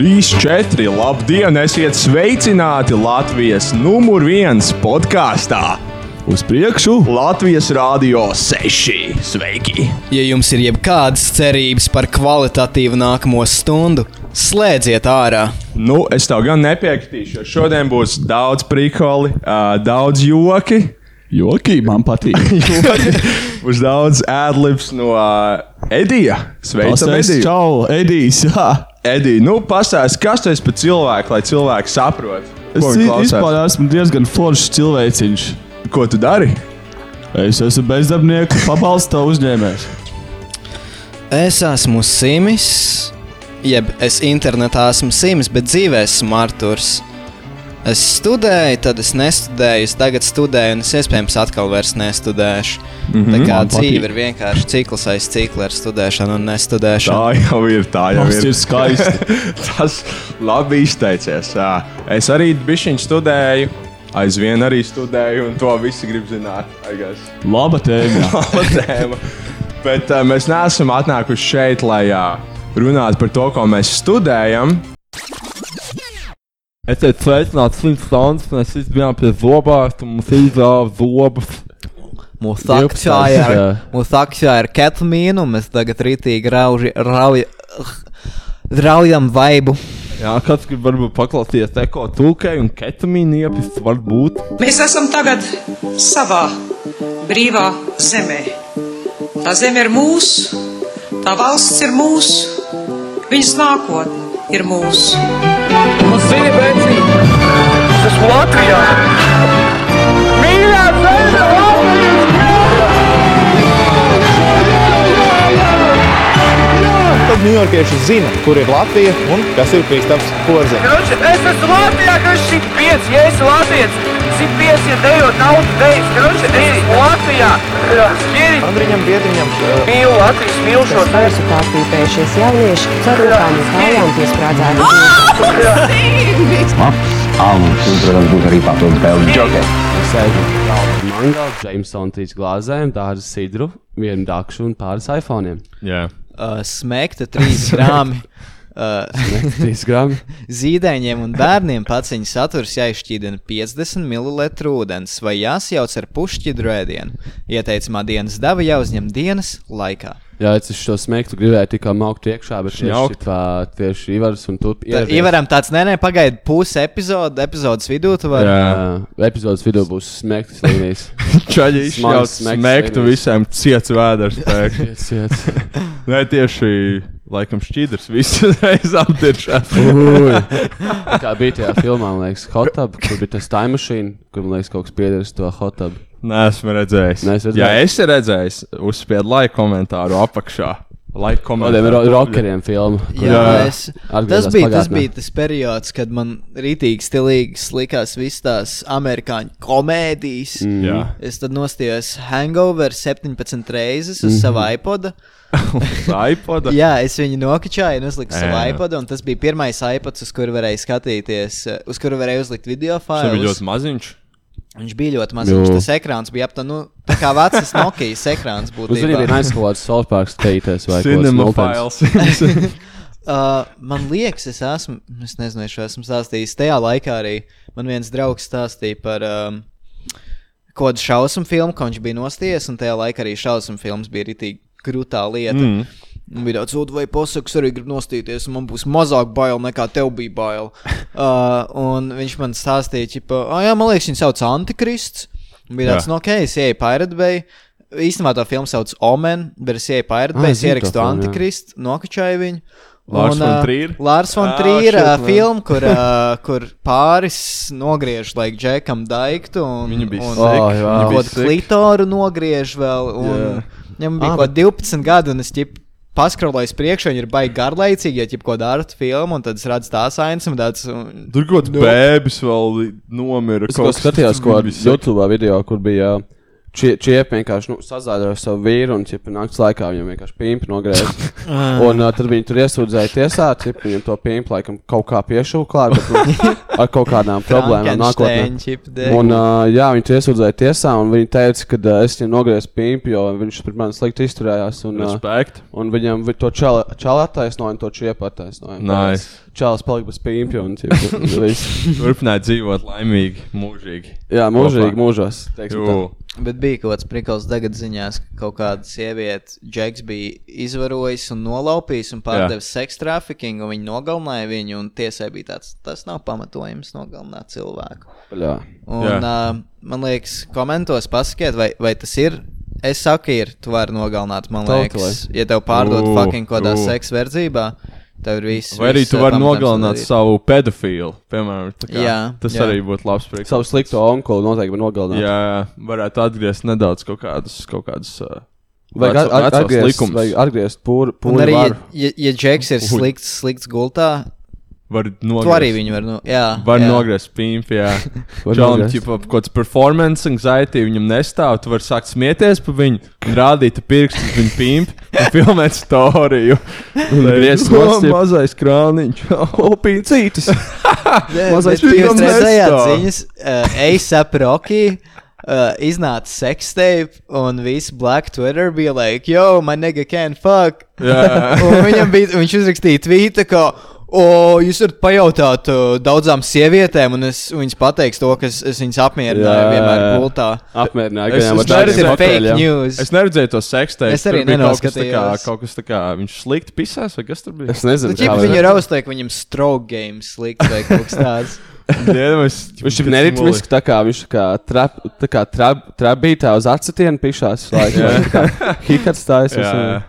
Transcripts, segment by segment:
4. Labdien, esiet sveicināti Latvijas numur viens podkāstā. Uz priekšu Latvijas Rādio 6. Sveiki! Ja jums ir jebkādas cerības par kvalitatīvu nākamo stundu, slēdziet ārā. Nu, es tev gan nepiekritīšu, jo šodien būs daudz prikoli, ā, daudz joki, Joki, man patīk. būs daudz ēdlips no ā, Edija. Sveicam, Pasēs, Ediju! Čau, Edijs. Jā. Edija, nu pastāsti, kas tas ir par cilvēku, lai cilvēki saprotu, Es ko, i- viņi klausās? vispār esmu diezgan foršs cilvēciņš. ko tu dari? Es esmu bezdarbnieks, pabalsta uzņēmējs. Es esmu Simis, jeb es internetā esmu Simis, bet dzīvē esmu Arthurs. Es studēju, tad es nestudēju, es tagad studēju, un es iespējams atkal vairs nestudēšu. Mm -hmm, Tā kā Mhm. man patīk. dzīve ir vienkārši cikls aiz cikla ar studēšanu un Tā nestudēšanu. jau ir. Tā jau Tas ir skaisti. Tas labi izteicies. jā. Es arī bišķiņu studēju, aizvien arī studēju, un to visi grib zināt. I guess. Laba tēma. Laba tēma. Bet uh, mēs neesam atnākuši šeit, lai uh, runātu par to, ko mēs studējam. Es teicu, sveicināts, Slims Sons, un es bijām pie zobārsta, un mums izrāva zobas. Mūsu Divpadsmit, akcijā ir, jā. mūsu akcijā ir ketamīna, un mēs tagad rītīgi rauži, rauj, raujam vaibu. Jā, kāds grib varbūt paklausīties eko tulkei un ketamīnu iepist, varbūt. Mēs esam tagad savā brīvā zemē. Tā zeme ir mūsu, tā valsts ir mūsu, viņas nākotne ir mūsu. Tad ņujorkieši zina, kur ir Latvija un kas ir Kristaps Porziņš. Короче, es esmu Latvijā, ka es 105, ja es Latvijas, 105, ja dejot naudu dejas, короче, es esmu Latvijā, skiri, Andriņam Biedriņam mīlu Latvijas milšos, Vairs ir pārpīpējušies jaunieši, cerībām uz kājām piesprādzējuši. Mangala, Jamesona trīs glāzēm, dārza sidru, vienu dakšu un pāris iPhone'iem. Yeah. Uh, smekta trīs grāmi. Uh, Trīs gramu. zīdaiņiem un bērniem paciņu saturs jāizšķīdina 50 ml ūdens vai jāsajauc ar pušķidru ēdienu. Ieteicamā dienas deva jāuzņem dienas laikā. Jā, es uz šo smēķu gribēju tikai maukt iekšā, bet viņš jau Šņaukt. tādā tieši Ivaras un Turp. Tā, Ivaram tāds, nē, nē, pagaidi, pusi epizodu, epizodas vidū tu vari. Epizodes vidū būs smēķis līnijas. Čaļi Smags izšķiet smeks smēktu vienreiz. visiem ciets vēders. pēkšņi. Iet, iet. Nē, tieši laikam šķidrs visu reizi aptiešās. Kā bija tajā filmā, man liekas, Hotub, kur bija tas time machine, kur man liekas kaut kas piederis to Hotub. Nē, esmu redzējis. Neesi redzējis? Ja esi redzējis, uzspied laika komentāru apakšā. Laika Kādiem komentāru. ro rokeriem filmu. kur- Jā, Jā. es, tas, Atgriezās bija, tas pagātnē. bija tas periods, kad man rītīgi stilīgi likās visas tās amerikāņu komēdijas. Mm. Jā. Es tad nostājos hangover 17 reizes uz Mhm. mm -hmm. savu iPodu. Tā ir poda. Jā, es viņu nokačāju, un uzliku savu Ē, nu. iPodu. un Tas bija pirmais iPods, uz kuru varēja skatīties, eh, uz kuru varēja uzlikt video Viņš bija failus. ļoti maziņš. Viņš bija ļoti mazs. Jū. Viņš tas ekrāns bija aptuveni nu, tā kā vecs Nokias ekrāns. Uz viņiem Būtībā. bija aizklāts Solpārks teities vai kaut kas Cinema tāds. files. Uh, man liekas, es esmu, es nezinu, es esmu stāstījis tajā laikā arī. Man viens draugs stāstīja par um, kādu šausmu filmu, ko viņš bija nostājies, un tajā laikā arī šausmu filmas bija rītīgi grūtā lieta. Mm. Un bija tāds, vai posaks arī grib nostīties, un man būs mazāk bail nekā tev bija bail. Uh, un viņš man stāstīja, ka, ah, jā, man liekas, viņu sauc Antikrists. Un bija tāds, Jā. no ok, es eju Pirate Bay. Īstenībā tā filma sauc Omen, bet es eju Pirate Ah, Bay, es es zinu to ierakstu filmu, jā. Antikristu, nokačāju viņu. Lars Un, von ā, Trier? Lārs von Ah, Trīra shit, ah, man. filma, kur, uh, kur pāris nogriež laikam džekam daiktu un Viņa bija sick, un- Oh, un wow. kaut viņa kādu bija sick. klitoru nogriež vēl. Un, Jā. Viņam bija Ah, kaut kādi 12 gadi, un es ķip, paskrolēju priekšā, viņa ir baigta garlaicīgi, ja ķip ko dara filmu, un tad es redzu tās ainas, un tāds un- Tur kaut kāds bēbis vēl nomira. Es kaut kā skatījos, ko ar YouTube video, kur bija čie- Čiepi vienkārši nu, sazāģēja savu vīru, un čiepi naktas laikā viņam vienkārši pīpa nogriezt. un uh, tad viņi tur iesūdzēja tiesā, čiepi viņam to pīpa laikam kaut kā piešuva klāt, bet nu, ar kaut kādām problēmām Frankenstein nākotnē. čipa dēļ. Un, uh, jā, viņi to iesūdzēja tiesā, un viņi teica, ka uh, es viņam nogriezu pīpa, jo viņš pret mani slikti izturējās. Un, Respekt. un viņam vi- to čalu attaisnoja un to čiepu attaisnoja. Nice. Čāles palika bez pīpa, un viņš Turpināt dzīvot laimīgi, mūžīgi. Jā, mūžīgi, mūžos. teiksim tā. Jū. Bet bija kaut kāds prikals tagad ziņās, ka kaut kāda sieviete, Džeks, bija izvarojis un nolaupījis un pārdevis seksu trafikingu, un viņi nogalināja viņu, un tiesai bija tāds, tas nav pamatojums nogalināt cilvēku. Paļā. Jā. Un, uh, man liekas, komentos pasakiet, vai, vai tas ir. Es saku, ir, tu vari nogalināt, man Tautlai. liekas, ja tev pārdod Ū, fucking kaut kādā ū. seksu verdzībā, tev ir viss. Vai arī viss, tu eh, vari pamatojums nogalināt nodarīt. savu pedofilu, piemēram, tā kā, Jā, tas jā. arī būtu labs priekš. Savu slikto onkolu noteikti nogalināja. Jā, varētu atgriezt nedaudz kaut kādas, kaut kādas uh, Vajag veco- at- at- vecos atgriezt, likumus. vajag atgriezt pūri, Un pūri arī, ja, varu. ja, ja Džeks ir Uhuj. slikts, slikts gultā, Var tu arī nogriezt. viņu var no. Jā, Var jā. nogriezt pīnfi, jā. Var Čalam, nogriezt. ķipa, kaut kāds performance anxiety viņam nestāv, tu vari sākt smieties par viņu, un rādīt ar pirkstu uz viņu pīnfi un filmēt storiju. Un griezt nost, jeb- mazais krāniņš, opīcītis. Mazais Bet jūs viņam redzējāt nestāv. ziņas, uh, ASAP Rocky. Uh, iznāca seksteip, un viss Black Twitter bija like, yo, my nigga can't fuck. Jā. un viņam bija, un viņš uzrakstīja tvītu, ka, o, jūs varat pajautāt uh, daudzām sievietēm, un es, un viņas pateiks to, kas es viņas apmierināju Jā. vienmēr gultā. Apmierināja, Es- gan es jau Tā Tas arī ir ir fake news. Es neredzēju to sekstu. Es arī Kaut, nenoskatījos. kā- kas tā kā viņš slikti pisās, vai kas tur bija? Es nezinu, Bet, ja kā Nu, viņi var- ir austeikti, viņam stroke game slikts vai kaut kas tāds. nu, Viņš ir neritmisks, tā kā viņš kā trap, tā kā trap, trapītā uz acetienu pišās. Hikats stājas. Jā, jā. un-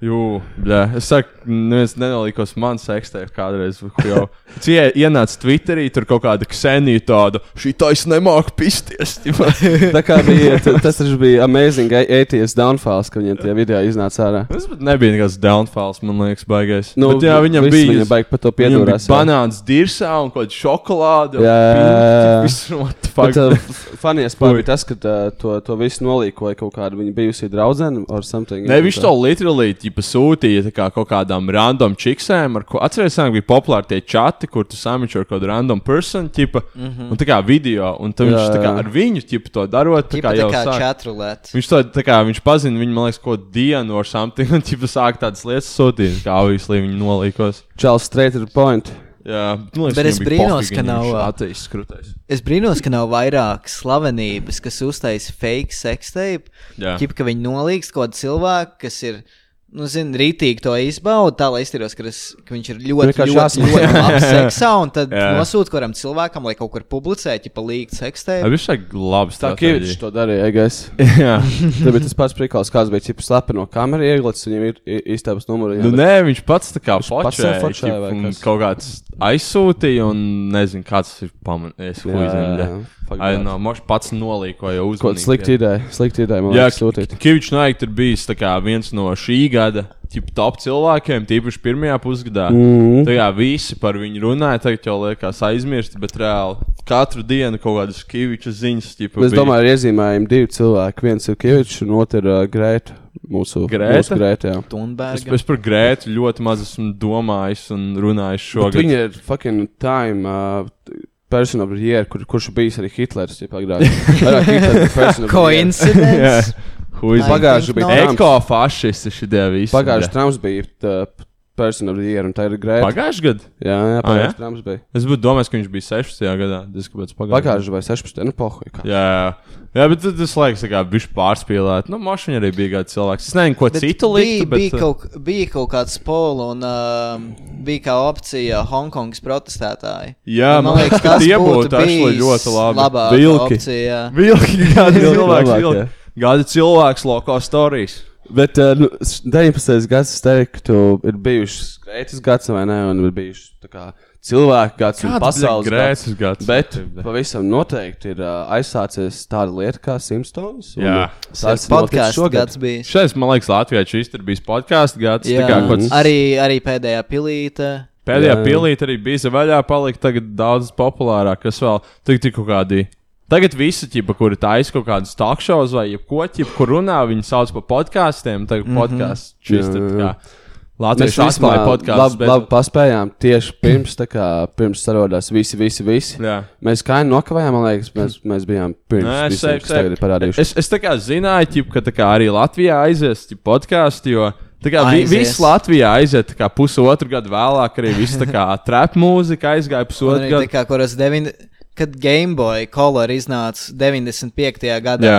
Jū, jā. Es saku, neviens nenolikos man sekstē kādreiz. jo Cik ie- ienāca Twitterī, tur kaut kāda ksenija tāda, šī taisa nemāk pisties. ķipa. Tā kā bija, t- tas taču bija amazing a- 80s downfalls, ka viņiem tie video iznāca ārā. Tas pat nebija nekāds downfalls, man liekas, baigais. Nu, bet, jā, viņam viss bija. viņam baigi par viņam to bija piedūrās, jā. Banāns dirsā un kaut kāda šokolāde. un Jā, jā, jā, jā. pīnci, viss, what the fuck? Bet, uh, Fanies Fuck. bija tas, ka uh, to, to visu nolīkoja kaut kāda viņa bijusī draudzene or something. Ne, viņš to literāli ģipa sūtīja tā kā, kaut kādām random čiksēm, ar ko atceries, ka bija populāri tie čati, kur tu samičo ar kādu random personu, ģipa, mm Mhm. -hmm. un tā kā video, un tad viņš Jā, tā kā jā. ar viņu ģipa to darot, tā Tipa kā tā jau kā sāk. čatrulēt. Viņš to tā kā, viņš pazina viņu, man liekas, ko dienu ar something, un ģipa sāk tādas lietas sūtīt, kā avīslī viņi nolīkos. Čels straight to the point. Jā, man liekas, Bet viņam es bija brīnos, pofīgi, ka viņam nav, viņš ā, Ateis skrūtais. Es brīnos, ka nav vairāk slavenības, kas uztaisīja fake seksteipu. Jā. Ķip, ka viņi nolīgs kaut kādu cilvēku, kas ir, nu, zina, rītīgi to izbauda, tā lai izturās, ka, es, ka viņš ir ļoti, ļoti, ļoti, Vienkārši jāsmaz. ļoti labs seksā, un tad Jā. nosūta kādam cilvēkam, lai kaut kur publicē, ja palīdz Jā, seksteipu. viņš saka, labi, Tā kā viņš to darīja, gais. Jā, Tur bija tas pats prikals, kāds bija čips slēpts no kameras ieglīts, viņam ir i- istabas numurs. Nu, nē, viņš pats tā kā pats fočēja, sev fočēja ķip, vai un kas? kaut kāds aizsūtīja, un nezinu, kāds ir pamanījis. Jā, jā, jā. Fuck Ai, that. no, moš pats nolīkoja uz Kaut slikta ideja, slikta ideja man Jā, liekas sūtīt. Kavičs Naigs ir bijis tā kā viens no šī gada tip, top cilvēkiem, tīpaši pirmajā pusgadā. Mhm. Mm. Tā kā visi par viņu runāja, tagad jau liekas aizmirst, bet reāli katru dienu kaut kādas Kaviča ziņas. Tipa, Es domāju, ir iezīmējami divi cilvēki. Viens ir Kavičs, un otrs ir uh, Grēta. Mūsu Grēta? mūsu Grēta jā. es, Tunberga. es par Grētu ļoti maz esmu domājis un runājis Bet šogad. Viņa ir fucking time. Uh, Persona of the Year, kur, kurš bijis arī Hitlers. Jā, agrāk. Vairāk Hitlers bija Person of the Year. Coincidence. Huiz Pagājuši bija Trumps. Eko fašisti šitie visi. Pagājušajā Trumps bija uh, Person of the Year, un tā ir Grēta. Pagājušajā gadā? jā, jā, Ah, jā? pagājušajā Trumps bija. Es būtu domājis, ka viņš bija 16. gadā. Tas kaut kāds pagājušajā. Pagājušajā vai 16. Nu, pohuj, kā. Jā, jā. jā, bet tad tas laiks, kā viņš pārspīlēja. Nu, mašīna arī bija kāds cilvēks. Es nezinu, ko Bet citu bija, liktu, bija, bet uh, kaut, bija kaut kāds pols, un uh, bija kā opcija Hongkongas protestētāji. Jā, Un man man liekas, liekas, tas tie būtu būtu actually bijis ļoti labi. labāka Vilki. Opcija, jā. vilki gada cilvēks. Labāk, vilki. jā. Gada cilvēks, loko stāstījis. Bet uh, nu, s- 19. gads, es teiktu, ir bijušas greitas gads, vai ne? Un ir bijušas tā kā cilvēku gads, un Kāds pasaules bija greitas gads? Bet pavisam noteikti ir uh, aizsācies tāda lieta kā Simpsons. un, Jā. uh, Tas ir noticis Podkāsts šogad. gads bija. Šais, man liekas, Latvijā šis ir bijis podkāsts gads. Jā, tā kā kaut kāds- arī, arī pēdējā pilīte. Pēdējā Jā. pilīte arī bija vaļā, palika tagad daudz populārāk, kas vēl tik tik kaut kādi Tagad visi, ķipa, kuri taisa kaut kādas talk shows vai ko, kur runā, viņi sauc par podkāstiem. Tagad mm -hmm. podkāsts šis Jā, tur jā. kā. Latvijas rāsmāja podkāsts. labi, labi paspējām tieši pirms, tā kā, pirms sarodās visi, visi, visi. Jā. Mēs kā jau nokavējām, man liekas, mēs, mēs bijām pirms. Nē, es visiem, teiktu, kas tagad ir parādījuši. Es, es tā kā zināju, ķip, ka tā kā arī Latvijā aizies ķip, podkāsti, jo tā kā vi, Aizies. viss Latvijā aiziet tā kā pusotru gadu vēlāk, arī viss tā kā trap mūzika aizgāja Un pusotru arī tā gadu. kā, kuras deviņ... Kad Game Boy Color iznāca 95. gadā, Jā.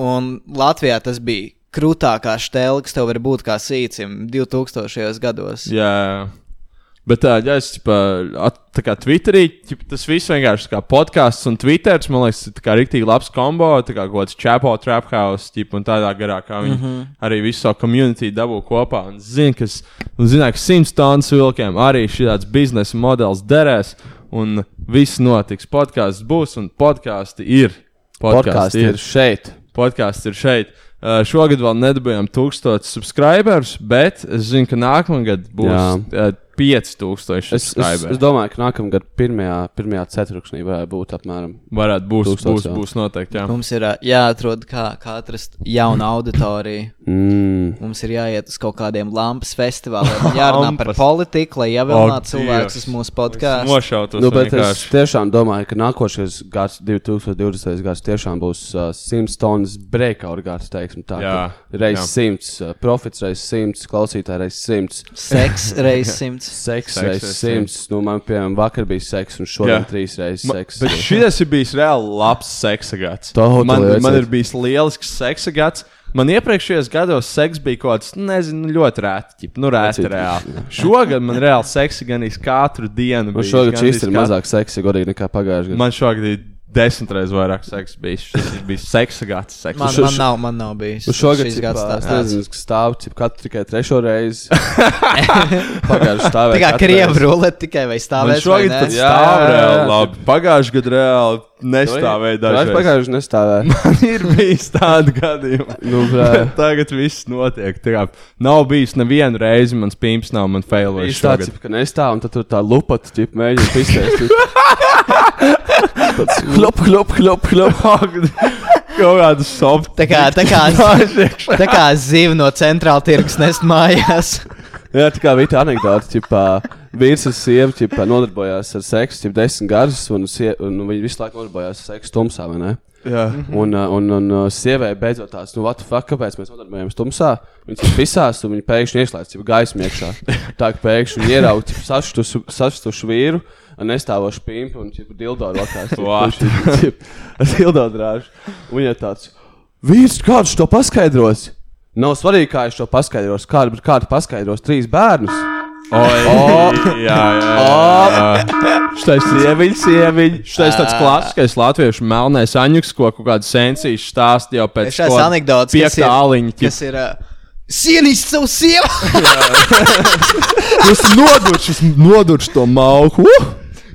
un Latvijā tas bija krūtākā stēle, kas tev var būt kā sīcim 2000. gados. Jā. Bet tā, ja es ķipa, at, tā kā Twitterī, ķipa, tas viss vienkārši tā kā podkāsts un Twitteris, man liekas, ir tā kā rīktīgi labs kombo, tā kā kaut kāds čepo, trap house, ķipa, un tādā garā, kā viņi mm -hmm. Mhm. arī visu savu komunitī dabū kopā. Un zina, kas, un zina, ka simts tonnas vilkiem arī šāds biznesa modelis derēs, un viss notiks. Podkāsts būs, un podkāsti ir. Podkasti ir šeit. Podkāsts ir šeit. Uh, šogad vēl nedabūjām 1000 subscribers, bet es zinu, ka nākamgad būs uh, 5000 Es, es, es subscribers. domāju, ka nākamā gada pirmajā, pirmajā ceturksnī varētu būt apmēram. Varētu būs, 1000 būs, jau. būs noteikti. Jā. Mums ir ā, jāatrod, kā, kā atrast jaunu auditoriju. Mm. Mums ir jāiet uz kaut kādiem lampas festivāliem, jārunā par politiku, lai Ak, ievēlētu cilvēkus Dievs. uz mūsu podkāstu. nošautos Nu, bet es vienkārši. tiešām domāju, ka nākošais gads, 2020. gads, tiešām būs uh, 100 tonnas breakout gads. teiksim Tā, Jā, ka Reiz jā. 100, uh, profits reiz 100, klausītāji reiz 100. Seks reiz 100. Seks Seks reiz reiz 100. Nu, man, piemēram, vakar bija seks, un šodien trīs reizes Ma- seks. Bet šis ir bijis reāli labs seksa gads. Totally Man, man redzēt. ir bijis lielisks seksa gads. Man iepriekšējos gados seks bija kaut kāds, nezinu, ļoti rēti. Nu, rēti Rēti, reāli. Šogad man reāli seksa gan īsti katru dienu. Man bijis, Nu, šogad gandrīz šis ir katru- mazāk seksīgi, godīgi nekā pagājušajā gadā. Man šogad ir desmit reizes vairāk seksa bijis. Šis ir bijis seksa gads. Seksa. Man- man gads. nav- man nav bijis. Nu, šogad Šis ir gads gads tā tāds, tāds. nezinu, kas stāv cip, katru tikai trešo reizi. Pagājušajā stāvēja. Tā kā katru krievu reizi. rulete tikai vai Man stāvēt. šogad pat stāv reāli labi. Pagājušajā gadā reāli nestāvēja Tu vairs dažreiz. pagājuši nestāvēja. Man ir bijis tādi gadījumi. Nu, brā. Tagad viss notiek. tā Kā, nav bijis nevienu reizi, mans pīns nav man failojis. Viņš tāds, šogad. cip, ka nestāv, un tad tur tā lupata, cip, mēģina pistēs. cip. Tāds klop, klop, klop, klop. Kaut kāda sop. Tā kā, tā kā, tā kā zivi no centrāla tirgus nest mājās. Jā, tā kā bija tā anekdote, ka vīrs un sieva ķipā, nodarbojās ar seksu, jau desmit gadus, un, sie- un nu, viņi visu laiku nodarbojās ar seksu tumsā. vai ne? Jā. Un, uh, un, un uh, sievai beidzot tāds, nu, what the fuck, kāpēc mēs nodarbojamies tumsā? Viņas ir pisās, un viņi pēkšņi ieslēdz jau gaismu iekšā. Tā kā pēkšņi ieraudzīja sašutušu, sašutušu vīru, nestāvošu pimpu un ķipa, dildo rokās. What? Ar dildo drāžu. Un viņa tāds, vīrs, kāds to paskaidros? Nav svarīgi, kā es to paskaidrošu, kāda ir kāda paskaidros trīs bērnus. Oi, O! jā, jā, jā. Štais sieviņš, sieviņš. Štais tāds klasiskais latviešu melnais aņuks, ko kaut kāda sensīša stāsta jau pēc Šās kaut anekdotas, kas piektā ir, aliņa. kas ir ā, sienīts savu sievu. Es noduršu, es noduršu to mauku. Uh!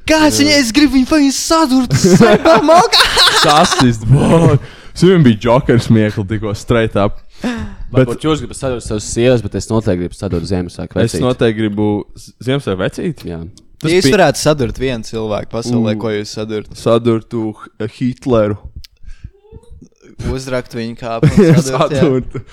Kāds viņai es gribu viņu fucking sadurt savā malkā? Sasist, boy. Sīvim bija jokers miekli tikko straight up. Bet jūs gribat sadot savus sievas, bet es noteikti gribu sadot Ziemassvētku. Es noteikti gribu Ziemassvētku vecīt. Jā. Tas jūs bija... varētu sadurt vienu cilvēku pasaulē, mm. ko jūs sadurt. Sadurtu H- Hitleru. Uzrakt viņu kā Sadurtu.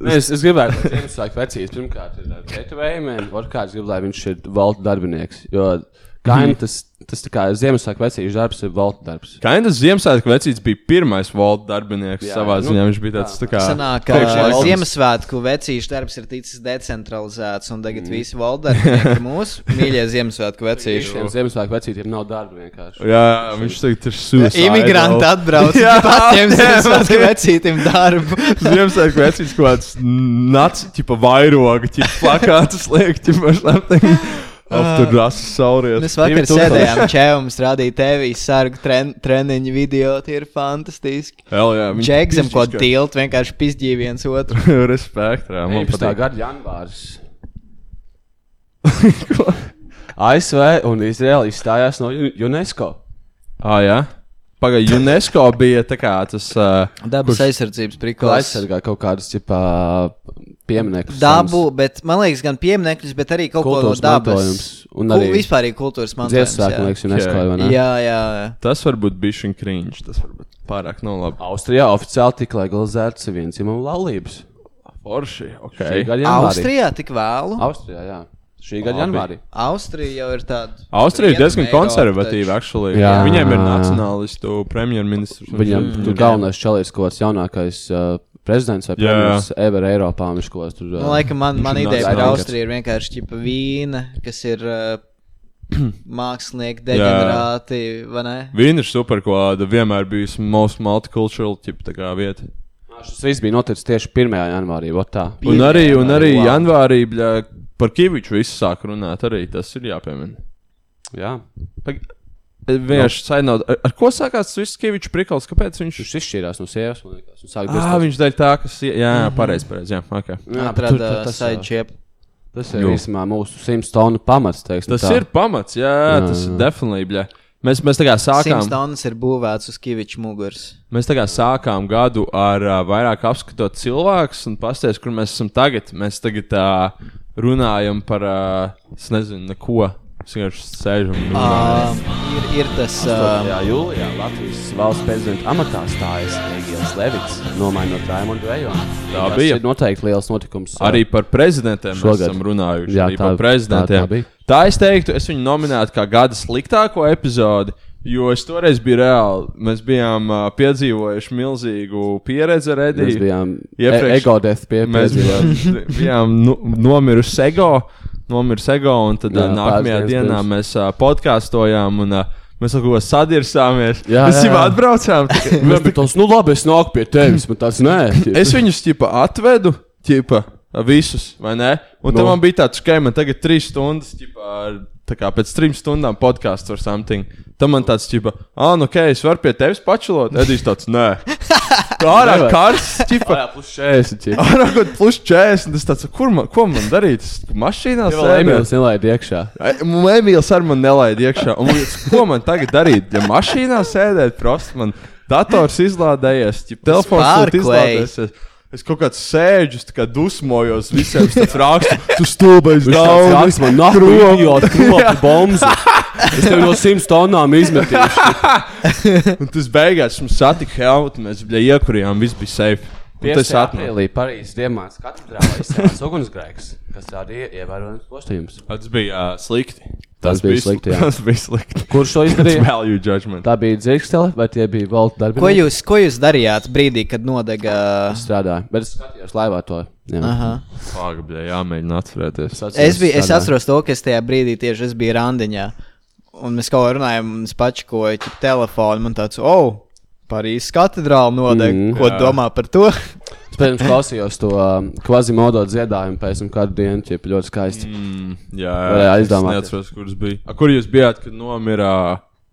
Nē, Es, es gribētu, lai Ziemassvētku vecīs pirmkārt ir eh, pretuvējumiem, otrkārt gribu, lai viņš ir valda darbinieks. Jo kaini tas, tas tā kā Ziemassvētku vecīs darbs ir valda darbs. Kainas Ziemassvētku vecīts bija pirmais valda darbinieks Jā, jā, savā jā, nu, ziņā. nu, Viņš bija tāds tā kā. Sanāk, priekšā ka valdes. Ziemassvētku vecīšu darbs ir ticis decentralizēts, un tagad mm. visi valdnieki ir mūsu mīļie Ziemassvētku vecīši. Šiem Ziemassvētku vecītiem nav darba vienkārši. Jā, viņš tagad ir sūdzējis. Imigranti atbrauc Jā, un paņem nē, Ziemassvētku man- vecītim darbu. Ziemassvētku vecīts kaut kāds nācis, tipa vairoga, tipa plakāts, liek, tipa šlampīgi. Ap tur rasas sauries. Mēs vakar sēdējām čēvums, rādīja tevi sargu tren, treniņu video, tie ir fantastiski. Hell, jā, viņi Džekzam ko pišķiski- tiltu, vienkārši pizdīja viens otru. Respekt, jā, man 11. patīk. gada janvārs. ASV un Izraela izstājās no U- UNESCO. Ah, jā. Pagaidā, UNESCO bija tā kā tas. Uh, Dabas aizsardzības Ko priklis. aizsargā kaut kādas tipā pieminekļus. Dabu, bet man liekas, gan pieminekļus, bet arī kaut ko no Kultūras dabas. mantojums un arī vispārīgi kultūras mantojums. dziesmu svētku, jā. liekas, UNESCO, vai ne? Jā, jā. jā. Tas var būt bijis viņa krīņš. Tas var būt pārāk no labi. Austrijā oficiāli tika legalizēts viens imants laulības. Forši. ok. Šī gada janvārī. Austrijā tik vēlu. Austrijā, jā. Šī Labi. gada Mm. janvārī. Austrija jau ir tāda. Austrija ir Rietumē diezgan Eiropa konservatīva. taču. Actually. Jā. Viņiem ir nacionālistu premjerministrs. Viņam tur galvenais čalis, ko tas jaunākais uh, prezidents vai Jā, jā. premjerministrs ever Eiropā un viņš ko tur. Uh, Nu, laikam, man, man Viņš ir ideja par nacionālists. Austriju ir vienkārši ķipa vīna, kas ir uh, mākslinieki, degenerāti, vai ne? Viņa ir super, ko vienmēr bijusi most multicultural tip, tā kā vieta. šis viss bija noticis tieši 1. janvārī. vot Tā. Un arī, un arī Wow. janvārī bļā, par Kīviču viss sāk runāt. Arī tas ir jāpiemina. Jā, Pag... Vienkārši sainot, ar, ar ko sākās tas viss Kīvičs prikals? Kāpēc viņš viņš izšķīrās no sievas. man liekas, un sāka Ah, dusmot. viņš daļai tā, kas. ie- Jā, jā pareizi, pareizi. Jā, okay. Jā, bet tur- Atrada tas- saidžiep. Tas ir īstenībā mūsu simtstonu pamats. Teiksim, Tas tā. tā. ir pamats, jā, jā tas ir definitīvi. Mēs, mēs tā kā sākām, Simstonas ir būvēts uz Kiviča muguras. mēs tā kā sākām gadu ar uh, vairāk apskatot cilvēkus un paskatīties, kur mēs esam tagad. Mēs tagad uh, runājam par, uh, es nezinu, neko. Mēs vienkārši sēžam. un runājam. Um, ir, ir tas um, Jā, jūlijā Latvijas valsts prezidenta amatā stājas Egils Levits, nomainot Raimondu Vejonu. Tā Tas bija. ir noteikti liels notikums. Arī par prezidentiem mēs Šogad. esam runājuši. Jā, Jā, arī tā- par prezidentiem. tā- tā bija. tā es teiktu, es viņu nominētu kā gada sliktāko epizodi. Jo es toreiz biju reāli, mēs bijām uh, piedzīvojuši milzīgu pieredzi ar Mēs Ediju. bijām Iepriekš- e ego death pie Mēs piedzīvojām. bijām- bijām nu- nomiruši ego, nomiruši ego, un tad jā, Jā, nākamajā pāris dienas dienā pirms. mēs uh, podkāstojām un uh, mēs kaut ko sadirsāmies. Jā, mēs jā, jau jā. atbraucām. tik- Mēs bijām tāds, nu labi, es nāku pie tevis, man tas nē. es viņus ķipa, atvedu, ķipa, visus, vai ne? Un no. Nu. tam man bija tāds, ka man tagad trīs stundas, ķipa, ar- tā kā pēc trim stundām podkāsts or something. Tam man tāds, ķipa, ah, nu, ok, es varu pie tevis pačilot. Edijs tāds, nē. Pārāk Nevar. karsts, ķipa. Jā, plus 40. Jā, Ārāk kaut plus 40. Tas tāds, kur man, ko man darīt? Es Mašīnā vēl Emīls nelaid iekšā. Mēmīlis ar mani nelaid iekšā. Un, man liekas, ko man tagad darīt? Ja mašīnā sēdēt, prosti, man dators izlādējies, ja telefons Spark ir izlādējies. Es kaut kādā sēžu, tā kā dusmojos visiem, tas rakstu, tu stulbais Viņš tāds daudz. sāks man nāk rūpīgi, kā bombas. Es tev no simts tonnām izmetīšu. Un tas beigās mums satika Helmuta, mēs bļa, iekurījām, viss bija safe. Un tas atnāk. aprīlī Parīzes diemāts katedrālē izcēlās ugunsgrēks, kas arī ievērojams postījums. Tas bija uh, slikti. Tas bija slikti, jā. Tas bija slikti. Kurš to It's izdarīja? value judgment. Tā bija dzirkstele, vai tie bija valda darbi? ko jūs, ko jūs darījāt brīdī, kad nodega? strādājāt? Bet es skatījos laivā to. jā. Aha. Pagaidā, jāmēģina atcerēties. Es, atceros, Es, biju, es strādāju. atceros to, ka es tajā brīdī tieši es biju randiņā. Un mēs kaut kā runājām, un es pačkoju ķip telefonu. Man tāds, oh, Parīzes katedrāle nodeg. Mm. Mm, ko jā. domā par to? Es pirms klausījos to um, kvazimodo dziedājumu, pēc tam kādu dienu tie bija ļoti skaisti. Mm, jā, Varēja es aizdomāties. Neatceros, kurš bija. A, kur jūs bijāt, kad nomira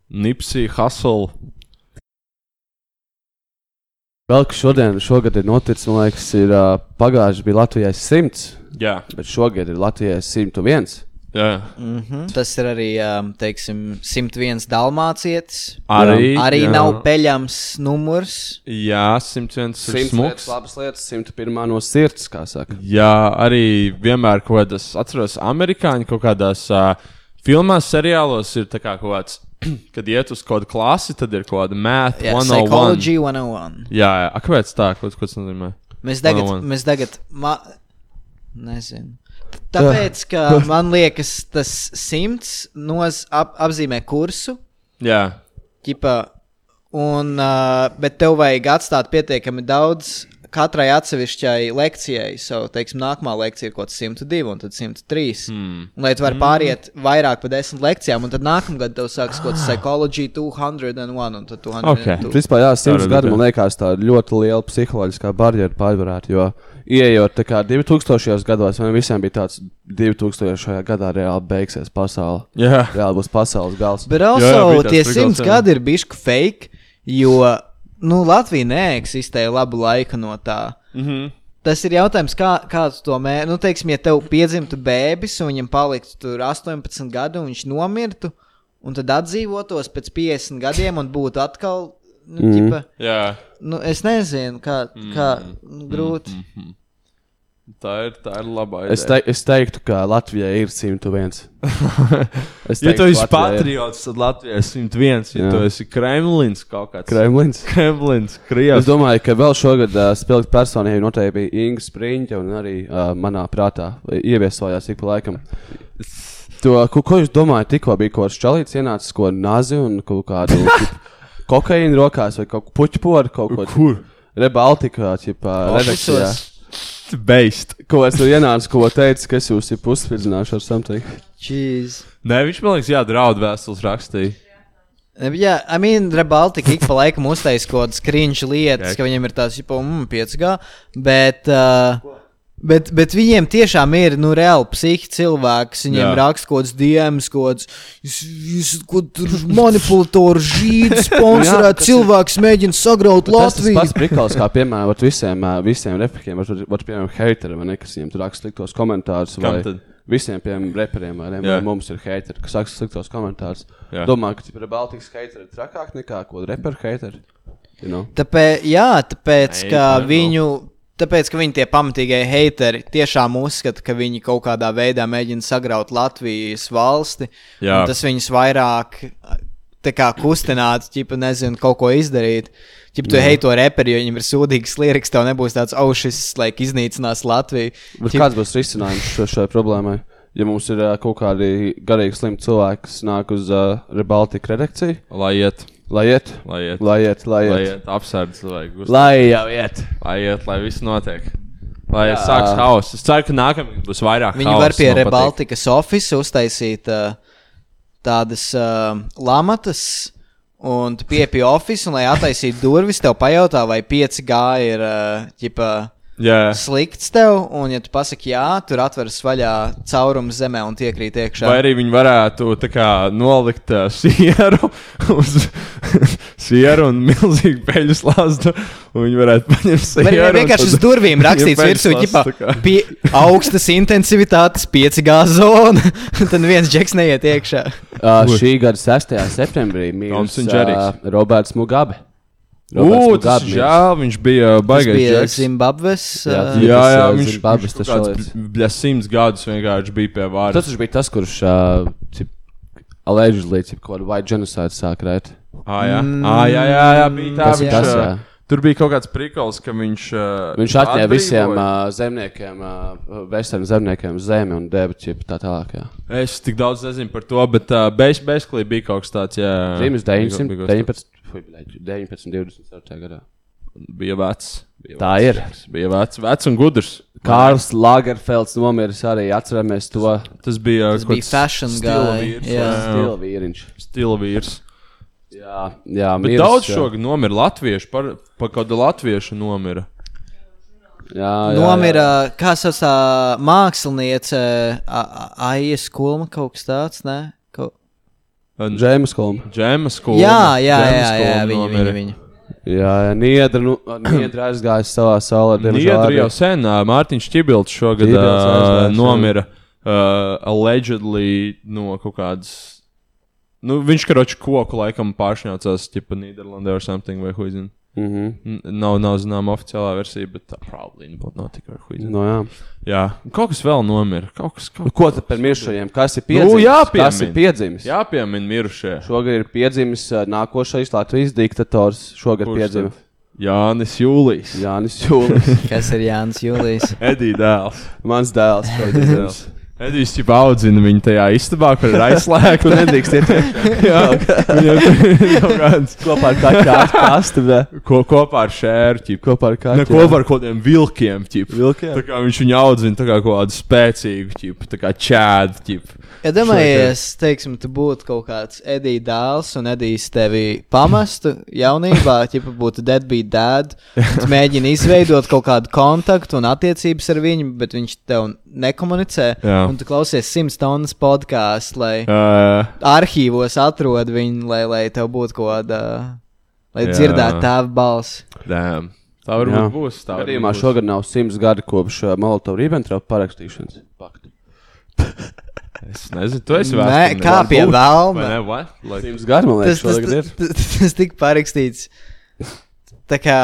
Nipsija Hustle? Vēl kas šodien, šogad ir noticis, man liekas, ir uh, pagājuši bija Latvijai 100, Jā, bet šogad ir Latvijai 101. jā. Mm -hmm. Tas ir arī, um, teiksim, 101 dalmācietis. arī, Arī jā. jā. nav peļams numurs. Jā, 101 ir lietas, smuks. labas lietas, 101 no sirds, kā saka. Jā, arī vienmēr kaut kādas, atceros, amerikāņi kaut kādās uh, filmās, seriālos ir tā kā kaut kāds, kad iet uz kaut kādu klasi, tad ir kaut kāda math, Jā, 101. psiholoģija 101. Jā, jā, A, kāpēc tā, ko tas nozīmē? Mēs tagad, 101. mēs tagad, ma... nezinu. Tāpēc, ka man liekas, tas simts noz ap, apzīmē kursu. Jā, ķipa, un, uh, bet tev vajag atstāt pietiekami daudz katrai atsevišķai lekcijai. Savu, teiksim, nākamā lekcija ir kaut kas 102 un tad 103. Mm. Lai tu varētu pāriet vairāk par 10 lekcijām, un tad nākamgad tev sāksies kaut kas psiholoģija 201 un tad 202. Okay. Principā, jā, simts Tāda gadi, ideja. man liekas, tā ir ļoti liela psiholoģiskā barjera pārvarēt. Jo, ieejot tā kā 2000. gados, man visiem bija tāds 2000. gadā reāli beigsies pasaule. jā. Reāli būs pasaules gals. Bet Jā, jā, also bija tie tāds prigals, 100 jā. gadi ir bijuši fake, jo nu, Latvija neeksistēja labu laiku no tā. Mm -hmm. Tas ir jautājums, kā, kāds to mēģina. Nu, teiksim, ja tev piedzimtu bērns, un viņam paliktu tur 18 gadi, un viņš nomirtu, un tad atdzīvotos pēc 50 gadiem, un būtu atkal. Nu, mm. ķipa, jā. Mm, nu, es nezinu, kā, kā nu, grūti. Mm. Tā ir, tā ir labā ideja. Es, te, es teiktu, ka Latvijai ir 101. Es Ja tu teiktu, esi Latvijai ir. patriots, tad Latvijai ir 101. Ja Jā. tu esi Kremlins kaut kāds. Kremlins. Kremlins, Es Krievs. domāju, ka vēl šogad uh, spilgt personīgi noteikti bija Inga Spriņķa un arī uh, manā prātā ieviesojās ik pa laikam. To, ko, ko jūs domājat, tikko bija kaut kāds čalīts ienācis, ko nazi un kaut kādu tip, kokaīnu rokās vai kaut ko puķu poru kaut ko. Kur? Rebaltika, tipā, mm. redakcijā. Beist. Ko es tur ienācu, ko teicu, ka es jūs ir pusvirdzināšu ar something. Jeez. Nē, viņš man liekas, jā, draudz vēstules rakstīja. Eh, Jā, I mean, Rebaltika ik pa laikam uztaisīja kaut kādas krīņš lietas, Jā. ka viņiem ir tās jau mm, 5G, bet, uh, bet, bet viņiem tiešām ir, nu, reāli psihi cilvēks. Viņiem Jā. raksta kaut kāds diems, kaut kāds, jūs, jūs kaut tur manipulators, žīds, Jā, sponsorēt tas ir- cilvēks, mēģina sagraut Bet Tas ir Latviju. pats prikals, kā piemēram, vat visiem, ā, visiem reperiem, var, var piemēram, heiteri vai ne, kas viņiem tur raksta sliktos komentārus. Kam vai tad? Visiem, piemēram, reperiem vai ne, Jā. vai mums ir heiteri, kas raksta sliktos komentārus. Jā. Domā, ka tipā Baltijas heiteri ir trakāk nekā ko reperu heiteri. You know? Tāpēc, jā, tāpēc Nē, ka tā nav. viņu. Tāpēc, ka viņi tie pamatīgie heiteri tiešām uzskata, ka viņi kaut kādā veidā mēģina sagraut Latvijas valsti. Jā. un Tas viņus vairāk tā kā kustinātu, ja nezinu, kaut ko izdarīt. Ja tu heito reperi, jo viņam ir sūdīgs liriks, tev nebūs tāds, oh, šis laik iznīcinās Latviju. Bet Ķip- Čip... kāds būs risinājums šo- šai problēmai? Ja mums ir ā, kaut kādi garīgi slimi cilvēki, kas nāk uz uh, Rebaltiku redakciju, Lai iet, lai iet, lai iet, lai iet, lai lai iet. iet apsardz cilvēku. Lai jau iet. Lai iet, lai viss notiek. Lai Jā. sāks hauss. Es ceru, ka nākamajā būs vairāk. Viņi hausa, var pie man patīk. Rebaltikas oficiāla uztaisīt uh, tādas uh, lamatas, un tu piepie oficiālu, un, lai attaisītu durvis, tev pajautā, vai 5G ir uh, ģipa, Jā. slikts tev, un, ja tu pasaki jā, tur atveras vaļā caurums zemē un iekrīt iekšā. Vai arī viņi varētu tā kā, nolikt uh, sieru uz sieru un milzīgu peļu slāzdu. un Viņi varētu paņemt sieru. Vai arī un vienkārši tad- uz durvīm rakstīts, Ja virsū pēkšņi ģipā, tas tā kā- pie augstas intensitātes 5G zona. Tad viens džeks neiet iekšā. Uh, šī gada 6. septembrī Toms mīlēs un Džerijs. uh, Roberts Mugabe. Roberts Ugh, tas Mugabe ir miris. žēl. Viņš bija Tas baigājis. bija Zimbabves. Jā, ā, tas Jā, jā, uh, viņš Zimbabves viņš tas kaut šalies. kāds bija simts gadus vienkārši bija pie vārda. Tas viņš bija tas, kurš uh, allegedly cip, kaut kādu white genocide sāk rēt. ah, jā. Ah, jā, jā, jā, bija tā. Tas ir Viņš, tas, ā, jā. tur bija kaut kāds prikals, ka viņš. ā, Viņš atņēma atbrīvoja- visiem uh, zemniekiem, uh, vesternu zemniekiem zemi un deva ķip tā tālāk. jā. Es tik daudz nezinu par to, bet uh, beigas beigās bija kaut kas tāds. Jā, Zīmes Bija kaut- bija kaut kas 1919. fui, bļaļ, 19, 24. gadā. tāds. Bija vecs. Bija Tā vecs. ir. Bija vecs, vecs un gudrs. Kārls Lagerfelds nomiris arī, atceramies to Tas bija Tas bija fashion guy. Jā. stila vīriņš. Stila vīrs. Jā, jā Bet miris, daudz jā. šogad nomira latviešu, par, par kādu latviešu nomira. Jā, jā, jā. Nomira, kā sauc tā māksliniece, Aija Skulma kaut kas tāds, ne? Kaut... Džēmas Kolma. Džēmas skola. Jā, jā, jā, jā, viņa, viņa, viņa. Jā, jā, Niedra, nu, Niedra aizgājis savā salā. Niedra Nu, jau sen, ā, Mārtiņš Čibilds šogad Čibilds ā, aizgāja nomira uh, allegedly no kaut kādas. Nu, viņš karoči koku laikam pāršņācās, tipa Nīderlandē vai something vai huizin. Mm -hmm. Nav, nav zināma oficiālā versija, bet tā probably nebūtu notika ar huizin. no, jā. Jā, kaut kas vēl nomira. Kaut kas, kaut Ko tad par mirušajiem? Kas ir Nu, piedzimis? jāpiemin. Kas ir piedzimis? kas. Jāpiemin mirušie. Šogad ir piedzimis ā, nākošais Latvijas diktators. Šogad Kurš piedzimis tad? Jānis Jūlijs. Jā. Jānis Jūlis, Kas ir Jānis Jūlijs? Edija dēls. mans dēls. šogad ir dzimis. Edijs jau audzina viņu tajā istabā, kur ir aizslēgta. Nedrīkst iet Jā, viņam tur ir kaut kāds kopā ar kaķu pastu. bē. ko, kopā ar šērķi. Ko, Kopā ar ne kaķu. kopā ar kaut kādiem vilkiem. Ķip. Vilkiem? Tā kā viņš viņu audzina tā kā kaut kādu spēcīgu, ķip, tā kā čēdu. Ķip. Ja domājies, teiksim, tu būtu kaut kāds Edijs dēls un Edijs tevi pamestu jaunībā, ja būtu deadbeat dad, un tu mēģini izveidot kaut kādu kontaktu un attiecības ar viņu, bet viņš tev nekomunicē. Jā. Un tu klausies simts tonnas podkāstu, lai Uh, arhīvos atrod viņu, lai, lai tev būtu kaut kāda, lai Jā. dzirdētu tēva balss. damn. tā varbūt Jā. Jā. būs. Tā varbūt Gadījumā būs. šogad nav simts gadi kopš Molotov-Ribbentropa parakstīšanas. pakta. Es nezinu, tu esi Nē, vēsturnieks. kā pie Varbūt. Vai vēlma. ne, vai? Lai- Simts gadi, man Tas, liekas, tas, šogad ir. tas, tas, tas tika parakstīts tā kā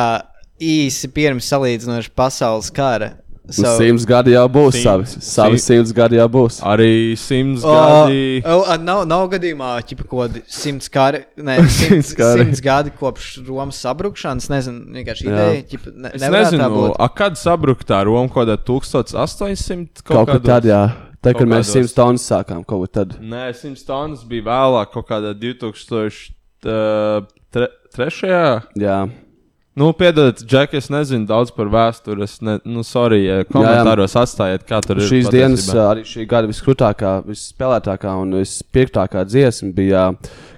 īsi pirms salīdzinoša pasaules kara. Nu, simts gadi jau būs savi. Savi simts gadi jau būs. Arī simts O, o, nav, nav gadījumā, ka kaut kādi simts gadi, ne, simts, Simts kari. simts gadi kopš Romas sabrukšanas. Nezinu, vienkārši Jā. ideja. Ķipa, ne, Es nevarētu tā nezinu, būt. a, kad sabruka tā Roma kaut kādā 1800 Kaut kā kādos? tad, jā. Tad, kad Kaut mēs kādos. simts tonnas sākām, kaut kā tad. Nē, 100 tonnas bija vēlāk, kaut kādā 2003. Jā. Nu, piedodiet, Džek, es nezinu daudz par vēsturi. Es ne, nu, sorry, ja komentāros atstājiet, kā tur ir. Šīs dienas, patiesībā. ā, arī šī gada viskrūtākā, visspēlētākā un vispiektākā dziesma bija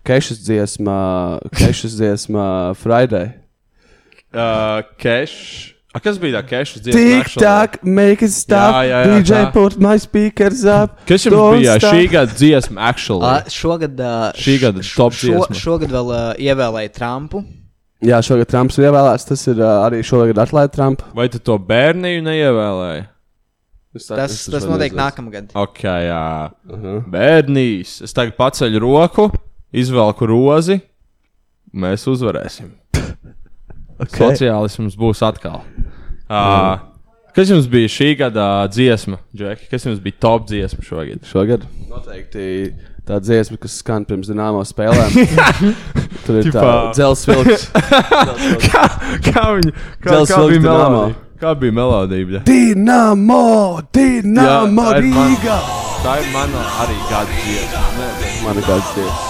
Kešas dziesma, Kešas dziesma Friday. Ā, Cash. Uh, kas bija tā cash? Tik-tak, make it stop. Jā, jā, jā, DJ tā. put my speakers up. Kas Don't jums bija stop. šī gada dziesma, actually? Ā, Šogad, ā, Šī gada top šo, dziesma. šogad vēl uh, ievēlēja Trumpu. Jā, šogad Trumps ir ievēlēts. Tas ir ā, arī šogad atlaid Trumpa. Vai tu to bērniju neievēlēji? Tas, es tas to notiek nezinu. nākamgad. Ok, jā. Uh -huh. Bērnīs. Es tagad paceļu roku, izvelku rozi. Mēs uzvarēsim. okay. Sociālisms būs atkal. Uh, kas jums bija šī gada dziesma, Džeki? Kas jums bija top dziesma šogad? Šogad noteikti tā dziesma, kas skan pirms dīnāmo spēlēm. Tur ir tā Tipā- dzelzsvilks. kā, kā viņa kā, Dzels kā bija vilks Dinamo. melodija? Kā bija melodija? bļa? Dīnāmo, Dīnāmo Jā, tā ir man- Rīgā! Tā ir mana arī gada dziesma. Nē, Man ir kāds dievs.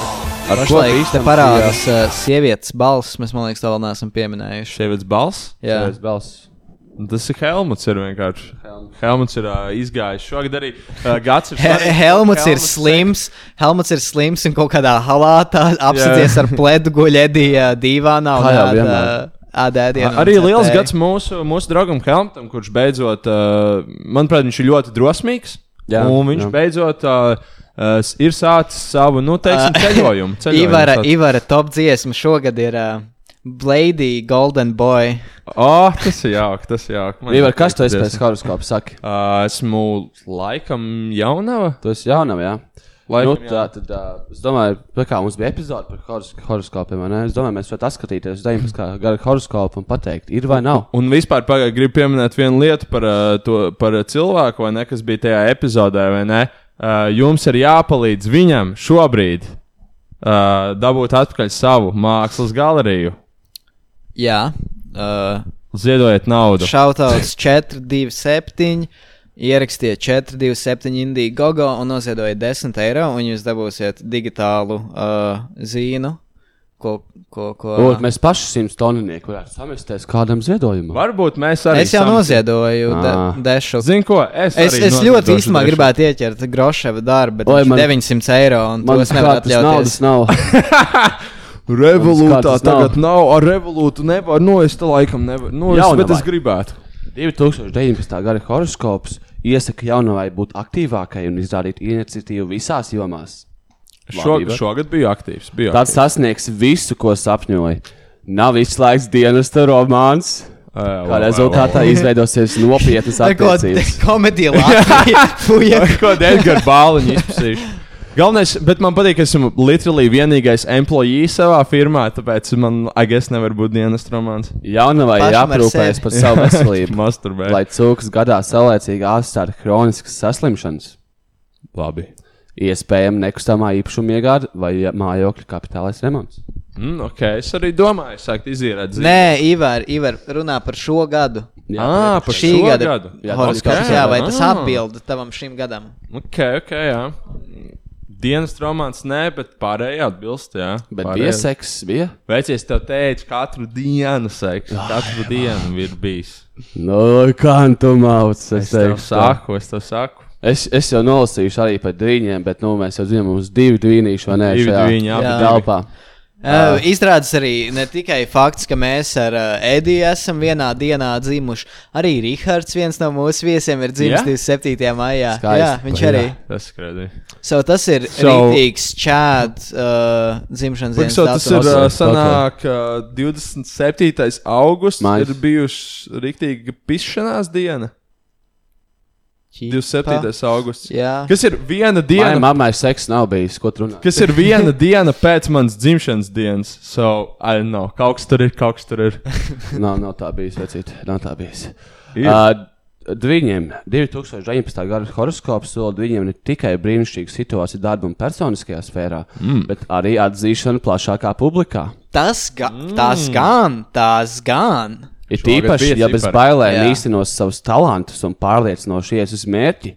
Ar ko Pašlaik te bīstam parādās uh, sievietes balss. Mēs, man liekas, to vēl neesam pieminējuši. Šeit ir balss. Nu, Jā, šajās balss? Tas ir Helmuts. Ir vienkārši. Helmuts ir uh, izgājis. Šogad arī uh, gads ir. He- svarīgs. Helmuts ir slims. Helmuts ir slims un kaut kādā halātā apsities ar pledu guļedīja dīvānā. Kā jau un ēd, vienmēr. ā, ēd ēdienu un Arī dzer liels tēju. gads mūsu, mūsu draugam Helmutam, kurš beidzot, uh, manuprāt, viņš ir ļoti drosmīgs. Jā, Jā, un viņš jā. jā. beidzot uh, uh, s- ir sācis savu, nu, teiksim, Ā, ceļojumu. ceļojumu Ivara, sācis. Ivara top dziesma šogad ir uh, Blady Golden Boy. Ā, tas ir jauki, tas ir jauki. Man Ivar, patīk kas tu esi dziesma. pēc horoskopa? Saki, Ā, Esmu laikam jaunava. tu esi jaunam, jā? Laikam, nu, tā, tad, uh, es domāju, tā kā mums bija epizode par horos- horoskopiem, vai ne? Es domāju, mēs varētu atskatīties uz 19. gada horoskopu un pateikt, ir vai nav. Un vispār pagāju, gribu pieminēt vienu lietu par, ā, to, par ā, cilvēku, vai ne, kas bija tajā epizodē. vai ne? Ā, Jums ir jāpalīdz viņam šobrīd ā, dabūt atpakaļ savu mākslas galeriju. Jā. Uh, Ziedojiet naudu. Šautauts 427. Ierakstiet 427 Indiju Gogo un noziedojiet 10 eiro, un jūs dabūsiet digitālu uh, zīnu, ko. ko, ko Varbūt mēs paši simts tonninieki varētu samesties kādam ziedojumam. Varbūt mēs arī. es jau noziedoju de, Ā. dešu. Zinu, ko es. Es, arī es ļoti noziedošu īsumā dažu. gribētu ieķert Grošava darbu, bet Oi, viņš man- 900 eiro un to Man es nevaru liekas, atļauties. naudas nav. Revolūtā Kāds tas nav? tagad nav. Ar revolūtu nevar. Nu, es te laikam nevaru. Nu, es, Jaunavai. bet es gribētu. 2019. gada horoskops iesaka jaunavai būt aktīvākai un izrādīt iniciatīvu visās jomās. Šog, Labība. šogad biju aktīvs. Biju Tad aktīvs. sasniegs visu, ko sapņoja. Nav izslēgts dienas romāns, Ā, kā vau, rezultātā izveidosies nopietnas Tā kā attiecības. komēdija Latvija. fuja. Ko Edgars Bāliņš izpētīja. Galvenais, bet man patīk, ka esmu literāli vienīgais employee savā firmā, tāpēc man, I guess, nevar būt dienas romāns. Jaunavai Pašam ar jāprūpējas sevi. par savu veselību, Masturbēt. lai cūkas gadā saulēcīgi ārstētu hroniskas saslimšanas, Labi. iespējama nekustamā īpašuma iegāde vai mājokļa kapitālais remonts. Mm, ok, es arī domāju, sākt izīrēt dzīvi. Nē, Ivar, Ivar, runā par šo gadu. Ā, par Šī šo gada gadu? Jā, horoskops, ok. jā, vai tas Ah. atbild tavam šim gadam? Ok, ok, jā. Dienas romāns nē, bet pārējie atbilst, jā. Bet Pārējie- bija seks, bija? Veicies, tev teicu, katru dienu seksu, katru dienu ir bijis. No, Nu, kā tu mācis? Es tev saku, es tev saku. Es, es jau nolasīju arī par dīņiem, bet nu, mēs jau zinām, mums divi dīņīši vai nē, Divi šajā dvīņi, jā, Jā. telpā. Uh, izrādās arī ne tikai fakts, ka mēs ar uh, Ediju esam vienā dienā dzimuši. Arī Rahards, viens no mūsu viesiem, ir dzimis Jā? 27. maijā. Skaisti. Jā, viņš arī. Tas skrēja. So, tas ir so, So- rītīgs čāds uh, dzimšanas dienas. Piksot, tas ir datums. uh, Dators, sanāk, uh, 27. augusts. Mājas. Ir bijusi rīktīga pišanās diena. 27. augusts. Jā. Kas ir viena Manai diena? mammai seksa nav bijis, ko tu runā. Kas ir viena diena pēc manas dzimšanas dienas? So, I don't know. Kaut kas tur ir, kaut kas tur ir. Nav, nav tā bijis, vecīt, nav tā bijis. Ir. Uh, Viņiem 2019. gada horoskops sola, ka viņiem ir tikai brīnišķīga situācija darba un personiskajā sfērā, mm. bet arī atzīšana plašākā publikā. Tas, ga Mm. tas gan, tas gan. Ir Šogad tīpaši, bija ja bez cipari. bailēm Jā. īstenos savus talantus un pārliecinoši ies uz mērķi.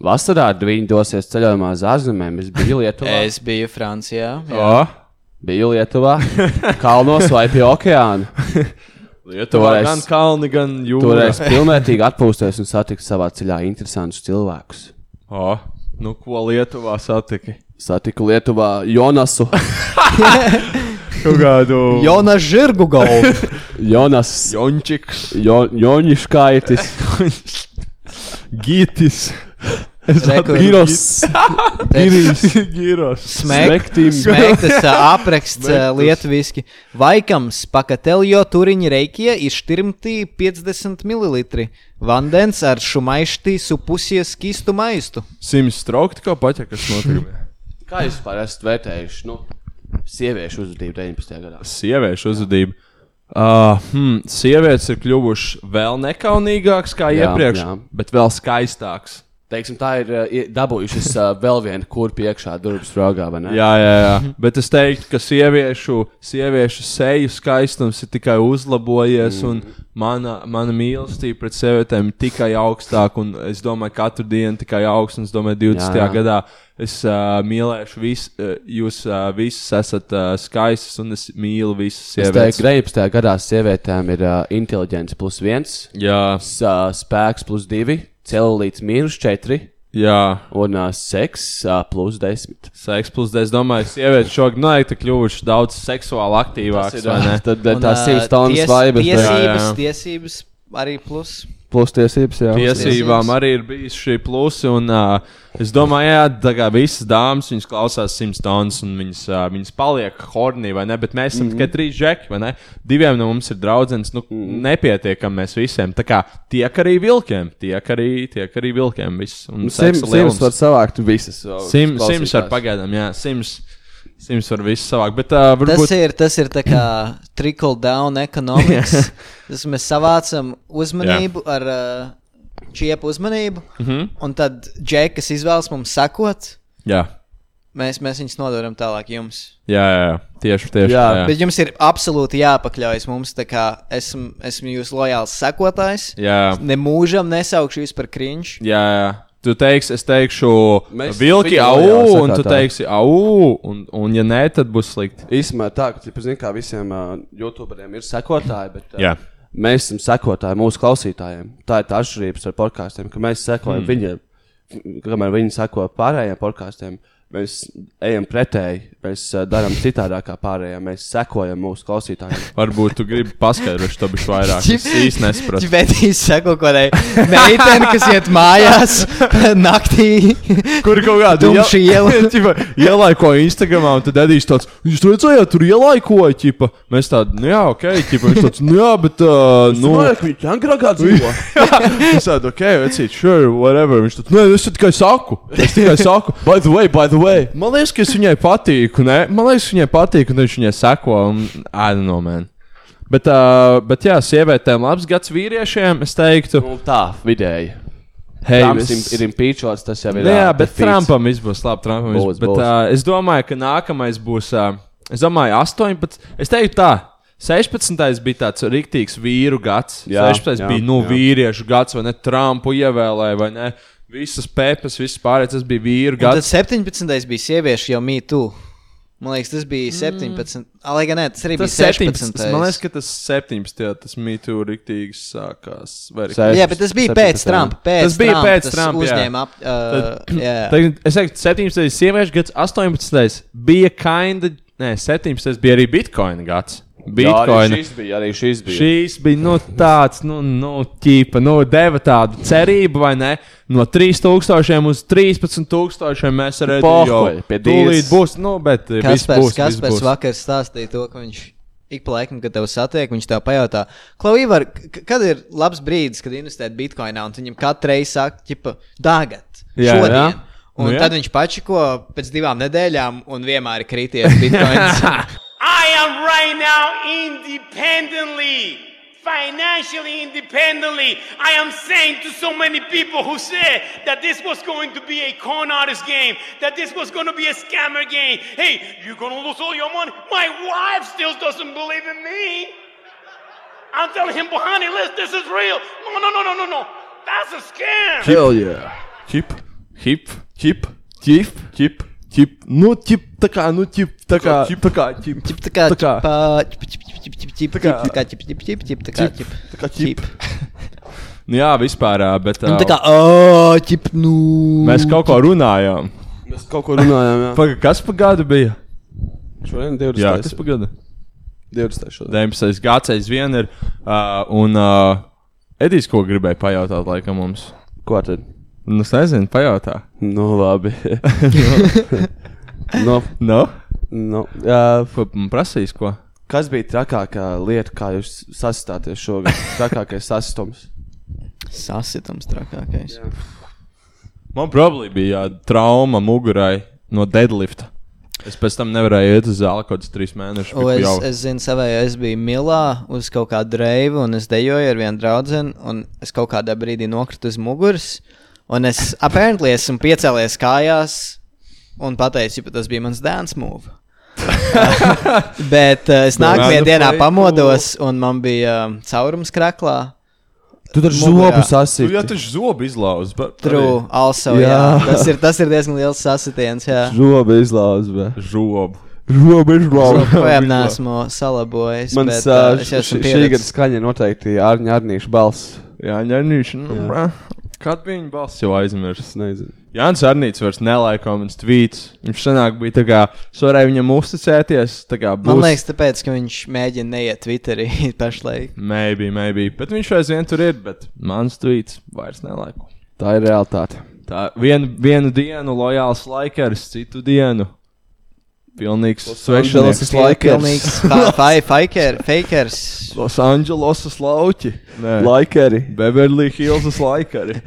Vasarā viņi dosies ceļojumā uz ārzemēm. Es biju Lietuvā. Es biju Francijā. O, Oh. biju Lietuvā, kalnos vai pie okeāna. Lietuvā Toreiz- gan kalni, gan jūra. Turēs pilnvērtīgi atpūsties un satikt savā ceļā interesantus cilvēkus. O, nu, ko Lietuvā satiki? Satiku Lietuvā Jonasu. Kaut kādu Jonas Žirgu galvu. Jonas. Jončiks. Jo, Joņiškaitis. Gītis. Rekur. Giros. Giris. Gīros. Smektim. Smēķis apraksts ā, lietuviski. Vaikams, pakateljo turiņi reikie izštirmti 50 ml. Vandens ar šumaišti supusies kistu maistu. Sims straukt, kā paķekas notiek. Kā jūs parasti vērtējat nu, sieviešu uzvedību 19. gadā? Sieviešu uzvedība. Uh, hmm, sievietes ir kļuvušas vēl nekaunīgākas kā jā, Jā, iepriekš, jā. jā. bet vēl skaistākas. Teiksim, tā ir uh, ie- dabūjušas uh, vēl vienu kurpju iekšā durvis rogā. vai ne? Jā, jā, jā. bet es teiktu, ka sieviešu, sieviešu seju skaistums ir tikai uzlabojies, un mana, mana mīlestība pret sievietēm ir tikai augstāka. un Es domāju, ka katru dienu tikai augsts, un es domāju, 20. Jā, Jā, jā. jā. gadā es uh, mīlēšu visus, uh, jūs uh, visas esat uh, skaistas, un es mīlu visas Es teiktu, sievietes. ka 19. gadā sievietēm ir uh, inteliģence plus 1, Jā, uh, spēks plus 2, celulīts mīnus 4 jā. un uh, seks uh, plus 10. Seks plus, es domāju, sievietes šogad noteikti kļuvušas daudz seksuāli aktīvākas. vai ne? Tad uh, Un, ā, tās sīvas tonas ties- vaibas. Jā, jā, Tiesības, jā. tiesības arī plus. Plus tiesības, jā. Tiesībām tiesības. arī ir bijis šī plusi. Un, uh, es domāju, jā, tā kā visas dāmas, viņas klausās simts tonnas, un viņas, uh, viņas paliek hornī, vai ne? Bet mēs Mhm. esam mm -hmm. tikai trīs žeki, vai ne? Diviem no mums ir draugs, nu, mm Mhm. -hmm. nepietiekam mēs visiem. Tā kā tiek arī vilkiem, tiek arī, tiek arī vilkiem. Viss, un seksa lielums. Sims var savākt visas. o, Sim, sims var klausītājs. pagaidām, jā, sims, sims var visu savākt. Bet, uh, varbūt... Tas ir, tas ir tā kā trickle down ekonomikas. Tas mēs savācam uzmanību ar ā, čiepu uzmanību, mm -hmm. Mhm. un tad džekas izvēlas mums sakot, Jā, mēs, mēs viņus nodoram tālāk jums. jā, jā, jā, tieši, tieši Jā, tā. Jā. Bet jums ir absolūti jāpakļaujas mums. tā kā Esmu, esmu jūsu lojāls sekotājs. Jā. Nemūžam nesaukšu jūs par krīņš. Jā, jā. Tu teiksi, es teikšu, Mēs vilki, viņu au, lojāli un tu sekotā. teiksi, au, un, un ja nē, tad būs slikti. Īsumā tā, ka tipa, zini, kā visiem uh, youtuberiem ir sekotāji, bet uh, Jā. mēs esam sekotāji mūsu klausītājiem. Tā ir tā atšķirība ar podkāstiem, ka mēs sekojam mm. viņiem, kamēr viņi seko pārējiem podkāstiem. Mēs ejam pretēji, mēs uh, darām citādāk kā pārējie. Mēs sekojam mūsu klausītājiem. Varbūt tu gribi paskaidrot, to bišķi vairāk. Es īsti nesapratu. Čibetīs sako kaut kādai meitenei, kas iet mājās naktī. Kur kaut kāda Tumša iela. Ķipa, ielaikoja Instagramā, un tad Edijs tāds - Jūs redzējāt, tur ielaikoja, ķipa. Mēs tādi, nu jā, ok, ķipa. Viņš tāds, nu jā, bet, uh, nu. ka viņi agrākā dzīvo. Viņš tāds, ok, vecīt, sure, whatever. Viņš tāds, nē, es tikai saku. Es tikai saku. By the way, by the way. Man liekas, ka es viņai patīku. Ne? Man liekas, viņai patīk, un viņš viņai seko. Āda no man. Bet, uh, bet, jā, sievietēm labs gads vīriešiem, es teiktu, Nu, tā vidēji. hei, Trumps vis- ir impīčots, tas jau ir. Nu, jā, ā, bet defīts. Trumpam viss būs labi. Trumpam viss būs. Būs, Bet, būs. uh, es domāju, ka nākamais būs. Uh, es domāju, 18. Es teiktu tā. 16. bija tāds rīktīgs vīru gads. Jā, Jā, 16. Jā, jā, bija nu, jā. vīriešu gads, vai ne? Trumpu ievēlēja, vai ne? Visas pepas, visas pārējās, tas bija vīru Un Tad gads. 17. bija sieviešu jau mītū. Man liekas, tas bija 17. Mm. Lai gan nē, tas arī Tas tas bija 16. 17. Man liekas, ka tas 17. jā, tas mītūri rīktīgi sākās. vai arī- Seš- jā, bet tas bija 17. pēc Trumpa. Pēc Tas bija Trumpa, pēc tas Trumpa, jā. Uzņēma ap, Tad- uh, jā. Tagad, es teiktu, 17. ir sieviešu gads, 18. bija kinda. Nē, 17. bija arī bitkoina gads. Jā, arī Bitcoin. šis bija. Arī šis bija. Šīs bija nu, tāds, nu, nu ķīpa, nu, deva tādu cerību, vai ne? No 3000 uz 13000 mēs Pohoj, redzējām, ka pie tūlīt dīzes. būs, nu, bet eh, viss Kaspars, būs. Kaspars vakar stāstīja to, ka viņš ik pa laikam, kad tev satiek, viņš tev pajautā, Klauvīvar, kad ir labs brīdis, kad investēt bitkoinā, un tu viņam katru reizi saka, ķipa, tagad, Jā, šodien. jā. Un Nu, nu, jā. tad viņš pačiko pēc divām nedēļām, un vienmēr ir krities bitkoins. I am right now independently financially independently. I am saying to so many people who said that this was going to be a con artist game, that this was going to be a scammer game. Hey, you're going to lose all your money. My wife still doesn't believe in me. I'm telling him, "Well, honey, listen, this is real. No, no, no, no, no, no. That's a scam. Hell yeah! Hip, hip, hip, hip, hip, hip. Nu, hip, tā kā, nu, hip, tā kā, hip, tā kā, hip, hip, tā kā, tā kā, Nu, jā, vispār, ā, bet. Nu, ā, tā kā, ah, ķip, nu. Mēs kaut ko runājām. Mēs kaut ko runājām, jā. Paga, kas pa gadu bija? Šodien 20. Jā, kas pa gadu? 20. šodien. 19. gads aizvien ir. Uh, un uh, Edijs, ko gribēja pajautāt, laikam mums? Ko tad? Nu, es nezinu, pajautā. Nu, labi. Nu, no. no? No. Uh, ko Nu? man prasīs, ko? Kas bija trakākā lieta, kā jūs sastāties šogad? Trakākais sastums. Sasitams trakākais. Man probably bija jā, trauma mugurai no deadlifta. Es pēc tam nevarēju iet uz zāli kaut kādus trīs mēnešus. O, biju es, jau- es zinu, savai es biju Milā uz kaut kādu reivu, un es dejoju ar vienu draugu, un es kaut kādā brīdī nokritu uz muguras, un es apēnties esmu piecēlies kājās un pateicu, ka tas bija mans dance move. Bet uh, es nākamajā Banana dienā play pamodos, un man bija um, caurums krāklā. Tu taču Mugurā. zobus sasiti. Nu, Jā, tas ir zobu izlauzis. True, also, jā. jā. Jā. Tas, ir, tas ir diezgan liels sasitiens. Jā, Žoba izlauza, bē. Žobu. Žoba es izlauza. joprojām neesmu salabojis. Mans bet, ā, uh, es jau š- esmu šī gada pieredzējis. skaņa noteikti ir Arņa Arnīša balss. Jā, ņemnīši. Nu, brā. Kad bija viņa balss jau aizmirst? Es nezinu. Jānis Arnīts vairs nelaiko manas tweets. Viņš senāk bija tā kā, es varēju viņam uzticēties. tā kā Man būs- liekas, tāpēc, ka viņš mēģina neiet Twitterī pašlaik. Maybe, maybe. Bet viņš aizvien tur ir, bet mans tweets vairs nelaiko. Tā ir realitāte. Tā vienu, vienu dienu lojāls laikers, citu dienu. Pilnīgs svešs. Angeles laikers. Pilnīgs fa- fa- faker- fakers. Los Angelosas lauki. Nē. Laikeri. Beverly Hillsas laikari.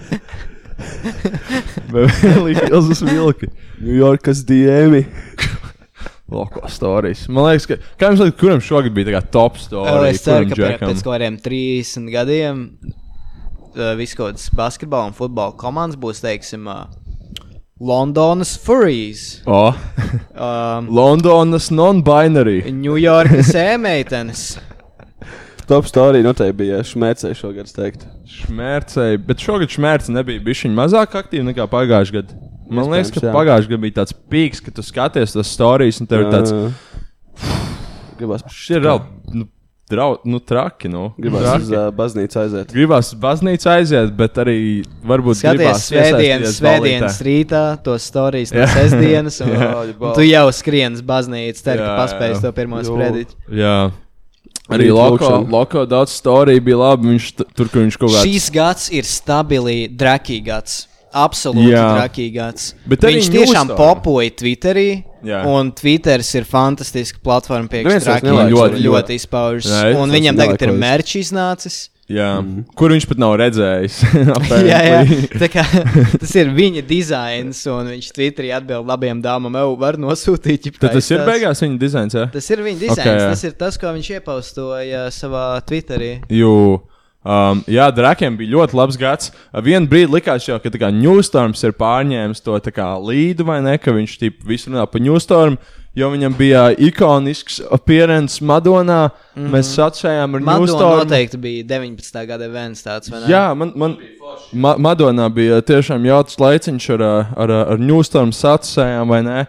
Beverly Hillsas vilki. New Yorkas diemi. Loko stāstījis. Man liekas, ka kā jums liekas, kuram šogad bija tā kā top Oh, stāstījis? es ceru, ka pie- pēc kaut kādiem 30 gadiem viskodas basketbola un futbola komandas būs, teiksim, ā, Londonas Furries, Oh. um, Londonas non-binary. Ņujorkas ēmeitenes. Top story noteikti bija šmēcēji šogad, es teiktu. Šmērcēji, bet šogad šmērce nebija bijusi mazāk aktīva nekā pagājušajā gadā. Man liekas, Iespējams, ka jā. pagājušajā gadā bija tāds pīks, ka tu skaties tas stāstījis un tev ir tāds Jā, jā. Gribas. - šī ir vēl nu, drau, nu, traki. Nu, Gribas uz uh, baznīcu aiziet. Gribās uz baznīcu aiziet, bet arī varbūt Skaties, gribās svētdienas, iesaistīties ballītē. svētdienas rītā, tos stāstījis no Jā. sestdienas, un, Jā. un tu jau skrienis baznīcā, ceru, Jā, ka paspējas jā. to pirmo Jo. sprediķi. Jā. Arī Rīt Loko, lūkšana. Loko daudz stāstīja, bija labi. Viņš t- tur, kur viņš kaut kādā Šīs gads ir stabili drakīgāts. Absolūti Jā. drakīgāts. Bet arī Viņš tiešām newsā. popoja Twitterī. Jā. Un Twitteris ir fantastiska platforma, Neviens kas vairs ļoti, nelaiž ļoti, to. ļoti izpaužas. Nē, es un vairs viņam tagad ir nelaižu. mērķis iznācis. Jā, Mhm. mm. kur viņš pat nav redzējis. jā, jā. apparently. Tā Kā, tas ir viņa dizains, un viņš Twitterī atbild labiem dāmām, jau var nosūtīt. ķip, Tad tas ir taisās." beigās viņa dizains. Jā? Tas ir viņa dizains. Ok, jā. Okay, tas ir tas, ko viņš iepaustoja savā Twitterī. Jo, um, jā, Drakiem bija ļoti labs gads. Vienu brīdi likās, jau, ka tā kā Newstorms ir pārņēmis to tā kā līdu, vai ne? Ka viņš tip, visu runā par Newstorm, jo viņam bija ikonisks pieredzes Madonā. Mm -hmm. Mēs sacējām ar Madonna Newstorm. Mhm. noteikti bija 19. gada events tāds, vai ne? Jā, man, man ma Madonā bija tiešām jautrs laiciņš ar, ā, ar, ā, ar Newstorm sacējām, vai ne?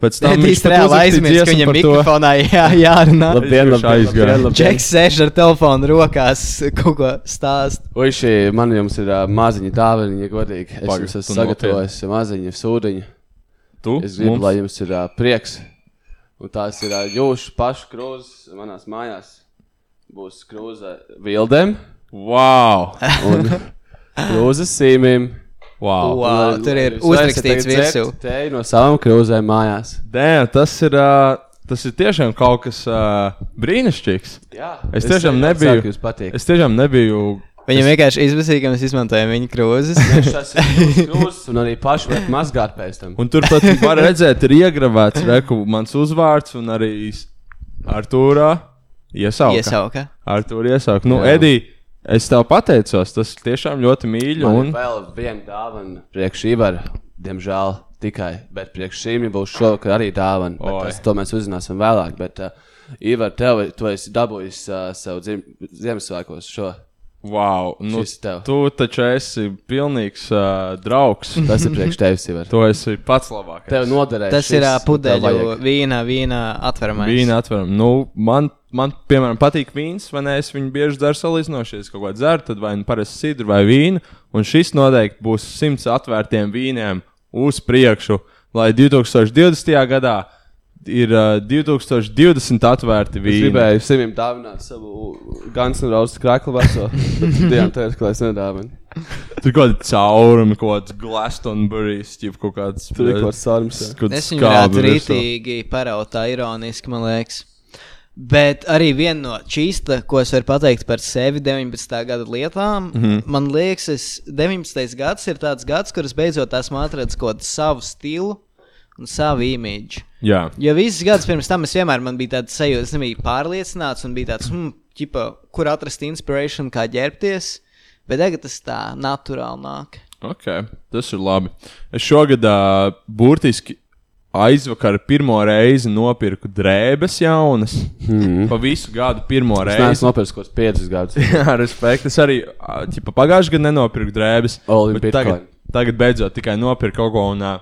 Pēc tam Tad viņš viņš pat reāli uzrakstīja aizmirst, ka dziesmu viņam par to. mikrofonā jā, jārunā. Labdien, labdien, labdien, labdien. Džeks sēž ar telefonu rokās, kaut ko stāst. Uiši, man jums ir uh, maziņa dāvana, ja godīgi. Es Pagaid, jums esmu tu nopietni? sagatavojis maziņu sūdiņu. Tu? Es gribu, Mums? lai jums ir uh, prieks. Un tās ir uh, jūsu pašu krūzes manās mājās. Būs krūze vildēm Wow! un krūze sīmīm. wow. Wow. Ā, tur ir uzrakstīts virsū. Te no savām krūzēm mājās. Dē, tas ir. Uh, tas ir tiešām kaut kas uh, brīnišķīgs. Jā, Es tiešām nebiju. Ceru, ka jums patīk. Es tiešām nebiju. Viņam vienkārši izbēsīja, ka mēs izmantojam viņa krūzes. Tas ir jūsu krūzes un arī pašu vajag mazgāt pēc tam. Un turpat var redzēt, ir iegravēts reku mans uzvārds un arī Artūrā. Iesauka. Iesauka. Ar to iesauku. Nu, Jā. Edī, es tev pateicos. Tas tiešām ļoti mīļi. Man Un... ir vēl viena dāvana priekš Ivara, diemžēl tikai, bet priekš šīm būs šovakar arī dāvana. bet Tas, to mēs uzzināsim vēlāk. Bet, uh, Ivar, tev tu esi dabūjis uh, sev dzim- Ziemassvētkos šo. Wow, nu, Šis tev. tu taču esi pilnīgs uh, draugs. Tas ir priekš tevis, Ivar. Tu esi pats labākais. Mm. Tev noderēs. Tas ir ā, pudeļu vīna, vīna atveramais. Vīna atveram. Nu, man, man, piemēram, patīk vīns, vai ne? Es viņu bieži dzeru salīdzinošies, kaut ko dzeru, tad vai nu parasti sidru vai vīnu. Un šis noteikti būs simts atvērtiem vīniem uz priekšu, lai 2020. gadā ir uh, 2020 atvērti Es vīni. gribēju simtiem dāvināt savu Guns N' Roses krāklu veco. Viņam tā ir klāts nedāvana. Tur kaut kāda cauruma, kaut kāds Glastonbury's, jeb kaut kāds. eh, Tur ir kaut kāds caurums, jā. kaut Es kāds viņu varētu skābi virsū. rītīgi paraut, tā ironiski, man liekas. Bet arī viena no čīsta, ko es varu pateikt par sevi 19. gada lietām, mm -hmm. Mhm. man liekas, es, 19. gads ir tāds gads, kur es beidzot esmu atradzis kaut kādu savu stilu un savu imīdžu. Jā. Jo visus gadus pirms tam es vienmēr man bija tāds sajūta, es nebiju pārliecināts un bija tāds, hmm, ķipa, kur atrast inspirāciju, kā ģērbties. Bet tagad tas tā naturāli nāk. Okay, tas ir labi. Es šogad ā, burtiski aizvakar pirmo reizi nopirku drēbes jaunas. Mm. Pa visu gadu pirmo Es reizi. neesmu nopircis kaut kādus 5 gadus. Jā, respekt. Es arī ā, ķipa, pagājušajā gadā nenopirku drēbes. Olim bet Tagad, Bitcoin. tagad beidzot tikai nopirku kaut ko. Un, ā,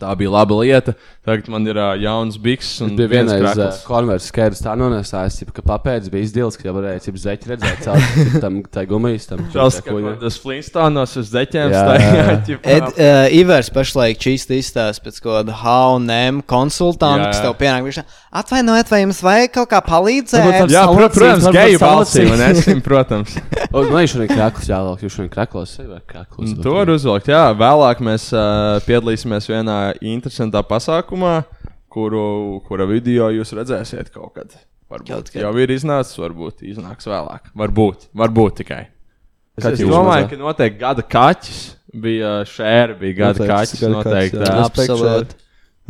tā bija laba lieta. Tagad man ir ā, jauns bikses un Bija viena viens krakls. reize, kad bija skārs, eh, tā nonesās, cip, ka papēdis bija izdils, ka jau varēja cip, zeķi redzēt caur tam tai gumijas. Tam, Tas, tā ka kuņa. tas Flintstonos uz deķiem Jā, stāja. jā, ķipa, Ed, uh, Ivers pašlaik čīsti izstāsta pēc kaut kāda HLM konsultanta, Jā. kas tev pienāk. Viņš tā, atvainojiet, vai jums vajag kaut kā palīdzēt? Varbūt Jā, pro, Salacīs, protams, varbūt geju balsī. salacīs. man esmu, Protams. O, Man ir šodien krāklis jāvelk, jo šodien krāklis ir krāklis. Mm, To var uzvilkt. Jā, vēlāk mēs uh, piedalīsimies vienā interesantā pasākumā, kuru, kura video jūs redzēsiet kaut kad. Varbūt Kaut kaut kad. kad. jau ir iznācis, varbūt iznāks vēlāk. Varbūt, varbūt tikai. Es- Es, es es domāju, uzmazā- ka noteikti gada kaķis bija šēri, bija gada Noteikti, kaķis. gada kaķis, Noteikti, jā. jā. Absolūti.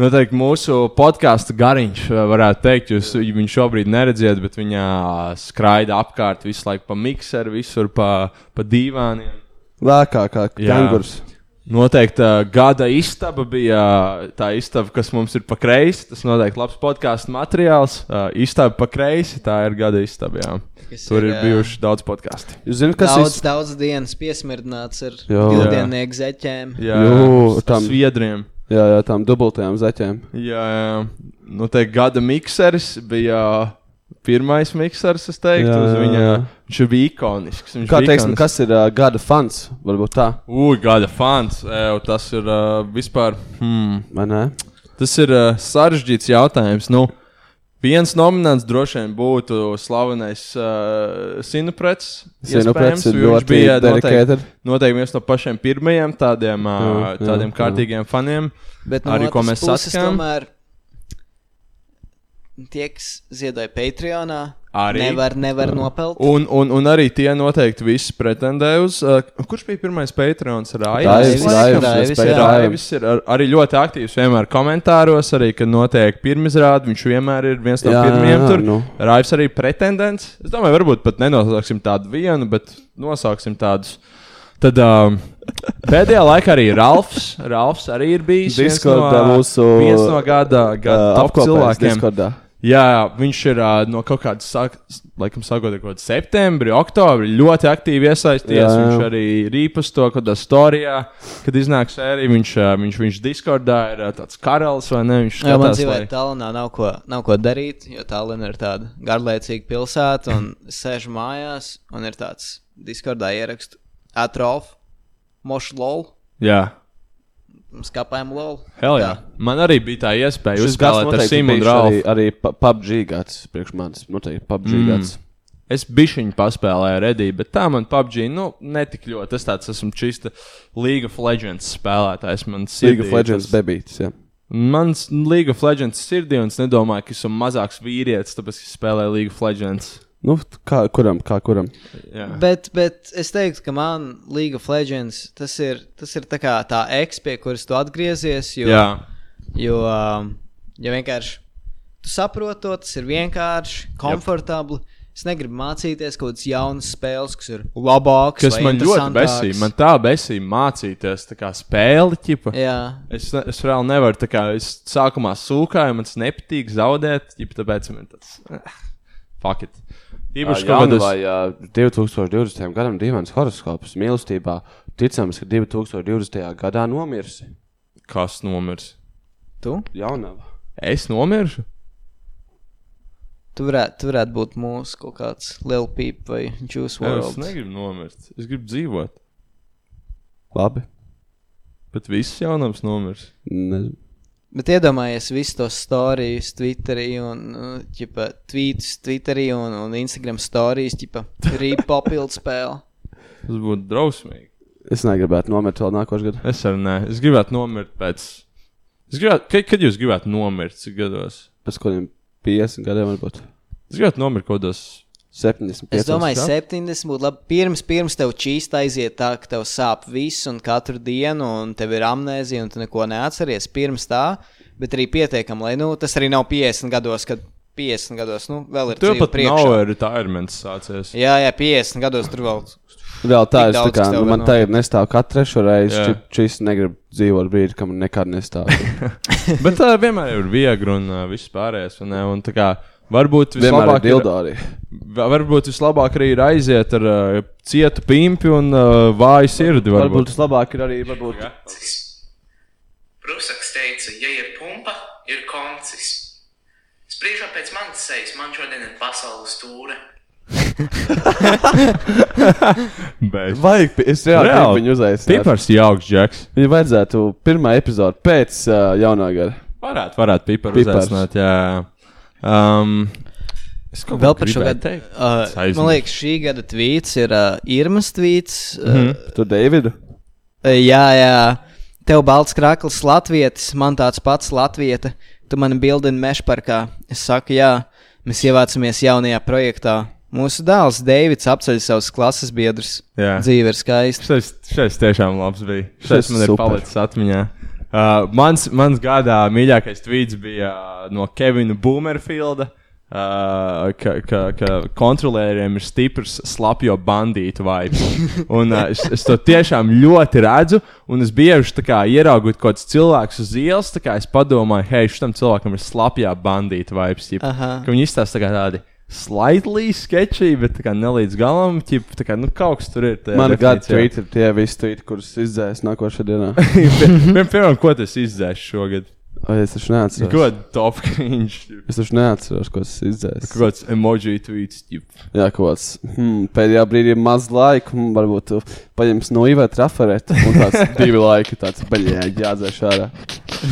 Noteikti mūsu podkāstu gariņš, varētu teikt, jūs viņu šobrīd neredzat, bet viņa skraida apkārt visu laiku pa mikseru, visur pa, pa dīvāniem. Lēkā kā kangurs. Noteikti uh, gada iztaba bija ā, tā iztaba, kas mums ir pa kreisi. Tas noteikti labs podkāstu materiāls. Uh, iztaba pa kreisi, tā ir gada iztaba. Jā. Kas Tur ir, ir ā, bijuši daudz podkāstu. Jūs zināt, kas Daudz, tas ir? daudz dienas piesmirdināts ar Jā. divdienieku zeķēm. Jā, Jū, s- tam- sviedriem. Jā, jā, tām dubultajām zeķēm. Jā, jā. Nu, te gada mikseris bija pirmais mikseris, es teiktu. Jā, Jā, jā, viņa, jā. viņš bija ikonisks. Viņš Kā bija teiksim, ikonisks. kas ir uh, gada fans? Varbūt tā, Ugh, gada fans. Ew, tas ir uh, vispār. Hmm. vai ne? Tas ir uh, sarežģīts jautājums. Nu, viens nominants droši vien būtu slavenais uh, Sinuprets. Sinuprets iespējams, ir jo ļoti viņš bija dedicated. noteikti, noteikti viens no pašiem pirmajiem tādiem, uh, Jā, jā, tādiem jā. kārtīgiem faniem. Bet nu, no Arī, ko otras mēs puses saskām. Tomēr tie, kas ziedoja Patreonā, Arī. nevar, nevar nopelt. Un, un, un arī tie noteikti visi pretendē uz. Uh, kurš bija pirmais Patreons? Raivis, Raivis. Raivis, Raivis, respekt jā. Raivim. Raivis ir ar, arī ļoti aktīvs vienmēr komentāros, arī kad notiek pirmizrāde. Viņš vienmēr ir viens no Jā, pirmajiem jā, tur. nu. Raivs arī pretendents. Es domāju, varbūt pat nenosauksim tādu vienu, bet nosauksim tādus. Tad um, pēdējā laikā arī Ralfs. Ralfs arī ir bijis viens Discordā no, mūsu viens no gada, gada uh, top apkopējs cilvēkiem. Discordā. Jā, viņš ir uh, no kaut kādas, sak- s- laikam, sakot, kaut kāda septembrī, oktobrī ļoti aktīvi iesaistījies. Jā, jā. Jā, jā. Viņš arī rīpas to, kad tas storijā, kad iznāks arī viņš, uh, viņš, viņš Discordā ir uh, tāds karalis vai ne? Viņš Jā, man skatās, dzīvē lai... tālrunī nav, ko- nav ko darīt, jo tālrunī ir tāda garlaicīga pilsēta, un es sēžu mājās, un ir tāds diskordā ieraksts Atrofs, Mošs Lol, Jā. skapējam Lol. Hell, jā. Man arī bija tā iespēja Šis gads uzspēlēt ar noteikti Simonu bijis Rālu. Arī, arī pa- PUBG gads priekš manis. Noteikti PUBG mm. Mm. gads. Es bišķiņu paspēlēju Redī, bet tā man PUBG, nu, netik ļoti. Es tāds esmu čista League of Legends spēlētājs. Man League sirdī of Legends tas- bebītis. Jā. Mans League of Legends sirdī, un es nedomāju, ka esmu mazāks vīrietis, tāpēc es spēlēju League of Legends. Nu, t- kā kuram, kā kuram? Jā, Bet, bet es teiktu, ka man League of Legends tas ir, tas ir tā kā tā eks, pie kuras tu atgriezies. Jo, jā. jo, um, jo vienkārši Tu saproti to, tas ir vienkārši, komfortabli. Yep. Es negribu mācīties kaut kādas jaunas spēles, kas ir labākas. Kas man ļoti besīja. Man tā besīja mācīties, tā kā spēle ķipa. Jā. Es, ne- es reāli nevaru, tā kā es sākumā sūkāju, man tas nepatīk zaudēt, ķipa, tāpēc man tas. Fuck it. Īpaši, kā kad gada es. vai ā, 2020. gadam dīvains horoskops mīlestībā. Ticams, ka 2020. gadā nomirsi. Kas nomirs? Tu? Jaunava. Es nomiršu? Tu varētu, tu varētu būt mūsu kaut kāds Lil Peep vai Juice Es World. negribu nomirt. Es gribu dzīvot. Labi. Bet viss jaunums nomirs. Nezinu. Bet iedomājies visus tos stāstus, Twitterī un uh, ķipa, tweets, Twitterī un, un Instagram stāstus, tipā rīpa papildu spēle. Tas būtu drausmīgi. Es negribētu nomirt vēl nākošajā gadā. Es arī nē. Es gribētu nomirt pēc. Es gribētu, kad, kad jūs gribētu nomirt, cik gados? Pēc kādiem 50 gadiem varbūt. Es gribētu nomirt kaut kādos. 75. Es domāju, gados. 70 būtu labi. Pirms, pirms tev čīsta aiziet tā, ka tev sāp viss un katru dienu, un tev ir amnēzija, un tu neko neatceries. Pirms tā, bet arī pietiekami, lai nu, tas arī nav 50 gados, kad 50 gados nu, vēl ir Tev dzīve pat priekšā. nav retirements sācies. Jā, jā, 50 gados tur vēl. Tik Vēl tā, es tā daudz, kā, kas tev nu, vēl man nav. tagad nestāv kā trešo reizi. Jā. Čip- Šis negrib dzīvot brīdi, kam nekad nestāv. Bet tā vienmēr ir viegli un uh, viss pārējais. Un, un tā kā varbūt Vienmēr vislabāk ir dildo arī. Va- Varbūt vislabāk arī ir aiziet ar uh, cietu pimpi un uh, vāju sirdi. Varbūt Varbūt. tas labāk ir arī, varbūt. Rusaks teica, ja ir pumpa, ir koncis. Spriežot pēc manas sejas, man šodien ir pasaules stūra. Bet. Vajag, pi- es reāli gribu viņu uzaicināt. Pipars jauks, Džeks. Viņu vajadzētu pirmā epizode pēc uh, jaunā gada. Varētu, varētu piparu Pipars. uzaicināt. Jā. Um, es kaut Vēl ko par šo gribēju gadu. teikt. Uh, Es aizmirsu. man liekas, šī gada tvīts ir uh, Irmas tvīts. Uh, Mhm. mm -hmm. Tu, Davidu? Jā, jā. Tev balts krāklis, latvietis, man tāds pats latvieta. Tu mani bildini mešparkā. Es saku, jā, mēs ievācamies jaunajā projektā. Mūsu dēls Deivids apceļ savus klases biedrus. Jā. Dzīve ir skaista. Šis, šis tiešām labs bija. Šis, Šis šis man ir super. super. palicis atmiņā. Uh, mans, mans gadā mīļākais tvīts bija uh, no Kevina Boomerfielda. Uh, ka, ka, ka kontrolieriem ir stiprs slapjo bandītu vibes. Un, uh, es, es to tiešām ļoti redzu. Un es bieži tā kā, ieraugu kaut kādus cilvēkus uz ielas, tā kā es padomāju, hei, šitam cilvēkam ir slapjā bandīta vibes. Jeb, Aha. ka viņi izstāsta tā kā tādi slightly sketchy, bet tā kā ne līdz galam. Ķip, tā kā, nu, kaut kas tur ir. tajā Man gada definīcijā. tweet ir tie visi tweet, kurus izdzēs nākošajā dienā. Pie- Piemēram, ko tas izdzēs šogad? Vai es taču neatceros? Ko top cringe? Es taču neatceros, ko tas izdzēs. Kaut kāds emoji tweets. ģip. Jā, kaut kāds. Hmm, pēdējā brīdī ir maz laika, un varbūt tu paņemsi no Ivēta trafareta. Un tāds divi laiki, tāds baļķis, jādzēš ārā.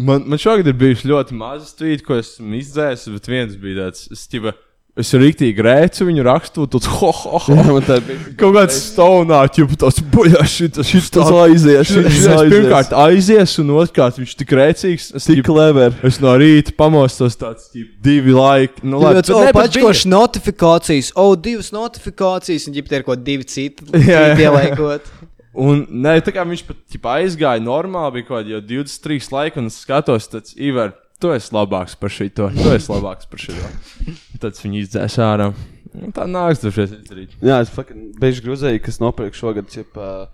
Man, man šogad ir bijuši ļoti mazi tweets, ko esmu izdzēsis, bet viens bija tāds. Es, ķipa, Es rīktīgi rēcu viņu rakstu, tad ho, ho, ho. Jā, man tā bija. Kaut kāds staunāts, jau tāds buļbuļs, tas ir Tas aizies, šis aizies. Pirmkārt, aizies, un otrkārt, viņš tik rēcīgs. Es tik clever. Es no rīta pamostos tāds, ķip, divi laiki. Nu, Labi, tu, ne, oh, bet viņa- pačkoši notifikācijas, o, oh, divas notifikācijas, un ģipte ir kaut divi citi. Jā, jā. Jā, ielaikot. Un ne, tā kā viņš pat ķipa, aizgāja normāli, bija kaut kāda jau 23 laika, un es skatos, tad Ivar, tu esi labāks par šito, tu esi labāks par šito. Tad viņi izdzēs ārā. Nu, tā nāks dažreiz izdarīt. Jā, es biju grūzēji, kas nopirka šogad. Cip, uh,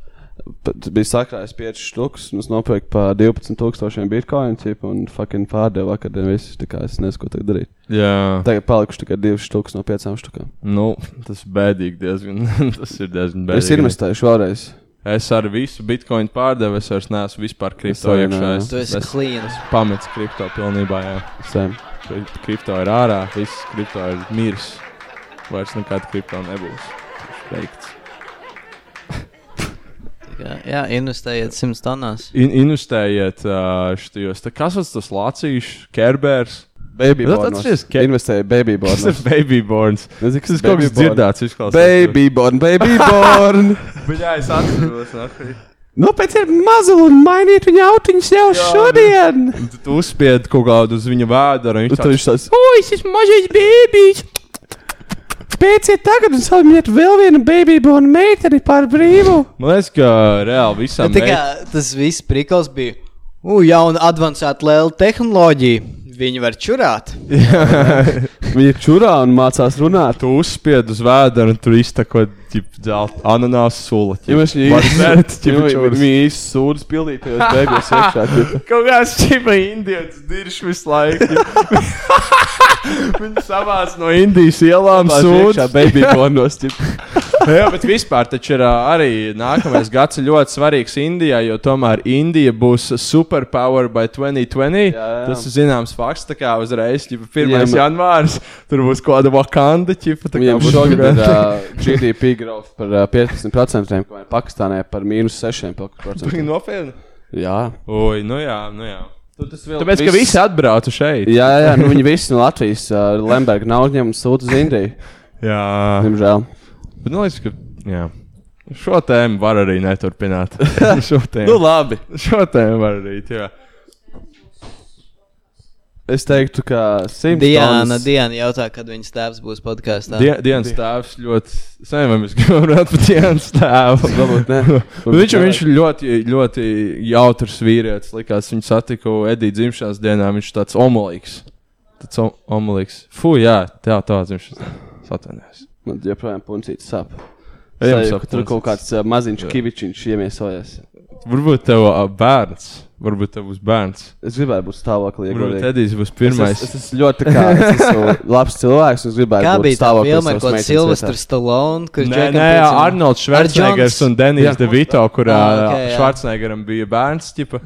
Bija sakrājis 5 stūkus, un es nopirku par 12,000 bitkoinu, cip, un fucking pārdevu vakar dienu visus. Tā kā es nezinu, ko tagad darīt. Jā. Tagad palikuši tikai 2 stūkus no 5 stūkiem. Nu, tas ir bēdīgi diezgan. tas ir diezgan bēdīgi. Es investēju šoreiz. Es ar visu bitkoinu pārdevu, es vairs neesmu vispār kripto arī iekšā. nē. Es, Tu esi es, clean. es pametu kripto pilnībā. Jā. Sem. Kri- Kripto ir ārā, viss kripto ir miris. Vairs nekad kripto nebūs. Beigts. Jā, jā, investējiet 100 tonnās. In investējiet uh, šajos. Kas tas tas lācīs, Kerbers? Nu, Babybornos. Investēju babybornos. Tas ir babyborns. Nezinu, Tas kaut kas dzirdēts, izklausās. Babyborn, babyborn. Jā, es atceros. nahui. Nopērciet mazuli un mainiet viņa autiņus jau nu, šodien! Un tad Tu uzspied kaut kādu uz viņa vēdru. Un tad viņš tāds, "O, oi, šis mažais bēbīts! Pēciet tagad un salmiet vēl vienu babyborn meiteni par brīvu! Man liekas, ka reāli visam Nu, tā kā tas viss prikals bija. U, jauna advancēta lēla tehnoloģija. Viņi var čurāt. Viņi čurā un mācās runāt. Tu uzspied uz vēdra un tur iztako dzelta ananās sula. Ja mēs viņu īstenībā īstenībā sūdzam, pildītajos beigās iekšā. ķip. Kaut kāds čipa indietis dirž visu laiku. Viņš savās no Indijas ielām Labās sūta. iekšā baby pornos, Jā, bet vispār taču ir ā, arī nākamais gads ir ļoti svarīgs Indijai, jo tomēr Indija būs superpower by 2020. Jā, jā. Tas ir zināms fakts, tā kā uzreiz, ja 1. Jā, Viņiem- janvārs tur būs kaut kāda vakanda, ķipa, tā kā Viņam būs šogad ir uh, grūti. GDP growth par uh, 15%, kamēr Pakistānai par mīnus 6%. Nopietni. Jā. Oi, nu jā, nu jā. Tāpēc, ka visi atbrauca šeit. Jā, jā, jā, nu viņi visi no Latvijas uh, Lemberga nav uzņēmuši sūtu uz Indiju. jā. Diemžēl. Bet man liekas, ka jā. šo tēmu var arī neturpināt. šo tēmu. Nu, labi. Šo tēmu var arī. Jā. Es teiktu, ka Simpsons. Diana, Diana jautā, kad viņas tēvs būs podkāstā. Die- Dienas tēvs ļoti sen, vai mēs gribam runāt par dienas tēvu. Varbūt ne. Bet viņš, viņš ir ļoti, ļoti jautrs vīrietis. Likās, viņu satiku Edija dzimšanas dienā. Viņš ir tāds omulīgs. Tāds om- omulīgs. Fū, jā, tā tā dzimšanas dienā. Satvenēs. Man joprojām puncīts sāp. Ejam Sajūta, sāp ka Tur kaut puncītis. kāds uh, maziņš Jā. kivičiņš iemiesojas. Varbūt tev uh, bērns. Varbūt tev būs bērns. Es gribēju būt stāvoklī. ja Varbūt godīgi. Edijs būs pirmais. Es, es, es ļoti kā, es esmu labs cilvēks, un es gribēju Kā būt bija tā stāvoklī. filma ar savas kaut kādu meitenes Silvestru vietā. Stallone, kurš Nē, Jackam nē, Pinsonam- Arnolds Švarcnegers Ar un Denijs Jā. Devito, kurā Ah, ok, jā. Švarcnegeram bija bērns, ķipa,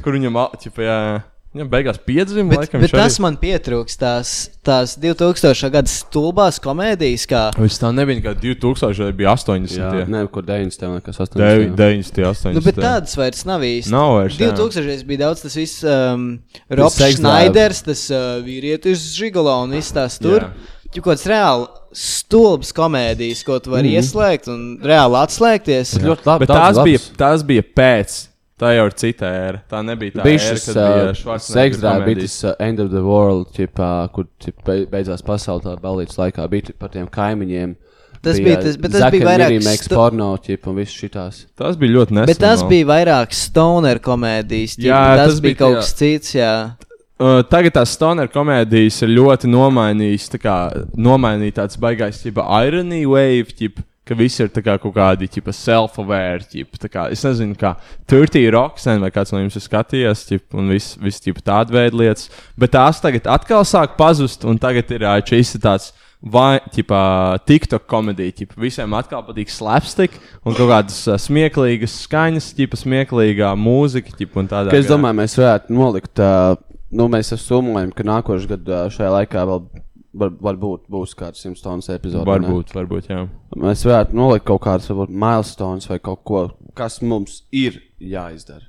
kur viņam, al- ķipa, jā, jā. viņam beigās piedzima. Bet, laikam, bet viņš arī- tas man pietrūkst, tās, tās 2000. gada stulbās komēdijas, kā Viņš tā nebija kā 2000, vai bija 80. Jā, nē, kur 90. kas 80. 90. 80. Nu, bet tādas vairs nav īsti. Nav vairs, jā. 2000. bija daudz tas viss, um, Robs sex Schneiders, tas uh, vīrietis Žigolo un viss tās tur. Jā. Tur kaut kāds reāli stulbs komēdijas, ko tu vari Mhm. mm. ieslēgt un reāli atslēgties. Bet tās bija, tās bija pēc. Tā jau ir cita ēra. Tā nebija tā Bija ēra, šis kad bija seks Švarcnegera drāmas, bija komēdijas. tas uh, End of the World, ķipā, kur ķip, be- beidzās pasaulē, tā balīdzes laikā bija ķip, par tiem kaimiņiem. Tas bija tas- bet tas bija vairāk Mīnīgs stu- porno, ķip, un viss šitās. Tas bija ļoti nesen. Bet tās vēl. bija vairāk stoner komēdijas. Tīpa, jā, tas, tas bija kaut tajā- kas cits. Jā. Uh, tagad tās stoner komēdijas ir ļoti nomainījis. tā kā, Nomainīja tāds baigais, kā ironija wave, ķip, ka visi ir tā kā kaut kādi tipa, self-aware. Ķip, tā kā, es nezinu, kā 30 rocksen vai kāds no jums ir skatījies, ķip, un viss vis, vis, tāda veida lietas. Bet tās tagad atkal sāk pazust, un tagad ir ā, šis ir tāds. Vai, tipā, TikTok komēdija, tipā, visiem atkal patīk slapstick un kaut kādas ā, smieklīgas skaņas, tipā, smieklīgā mūzika, tipā, un tādā Ka Es domāju, mēs varētu nolikt, uh, nu, mēs sumulējam, ka nākošais gads uh, šajā laikā vēl var, varbūt būs kāds simtstonas epizode. vai ne? Varbūt, varbūt, jā. Mēs varētu nolikt kaut kādas, varbūt, milestones vai kaut ko, kas mums ir jāizdara.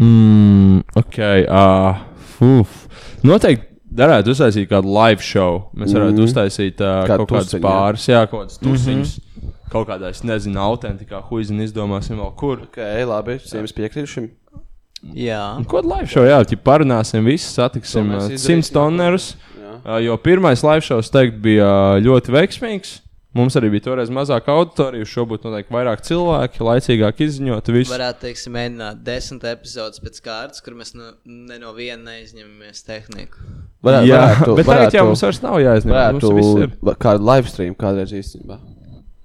Mm, ok, uh, uf. Noteikti darētu uztaisīt kādu live show. Mēs varētu mm Mhm. -hmm. uztaisīt uh, Kādu kaut kādas tusiņu, jā. pāris, jā, kaut kādas Mhm. tusiņas. Mm -hmm. Kaut kādā, es nezinu, autentikā huizina izdomāsim vēl kur. Ok, labi, visiem piekrītušiem. Jā. Un Ko tad live show? Jā, jau parunāsim, visi satiksim To mēs uh, izdarīsim. 100 tonnerus. uh, Jo pirmais live show, es teiktu, bija uh, ļoti veiksmīgs. Mums arī bija toreiz mazāk auditoriju, šobrīd noteikti vairāk cilvēki, laicīgāk izziņot visu. Varētu teikt, mēģināt desmit epizodes pēc kārtas, kur mēs no, ne no viena neizņemamies tehniku. Varētu, Jā, varētu, bet tagad jau mums vairs nav jāizņem, mums viss ir. Varētu va- kādu live stream kādreiz īstenībā.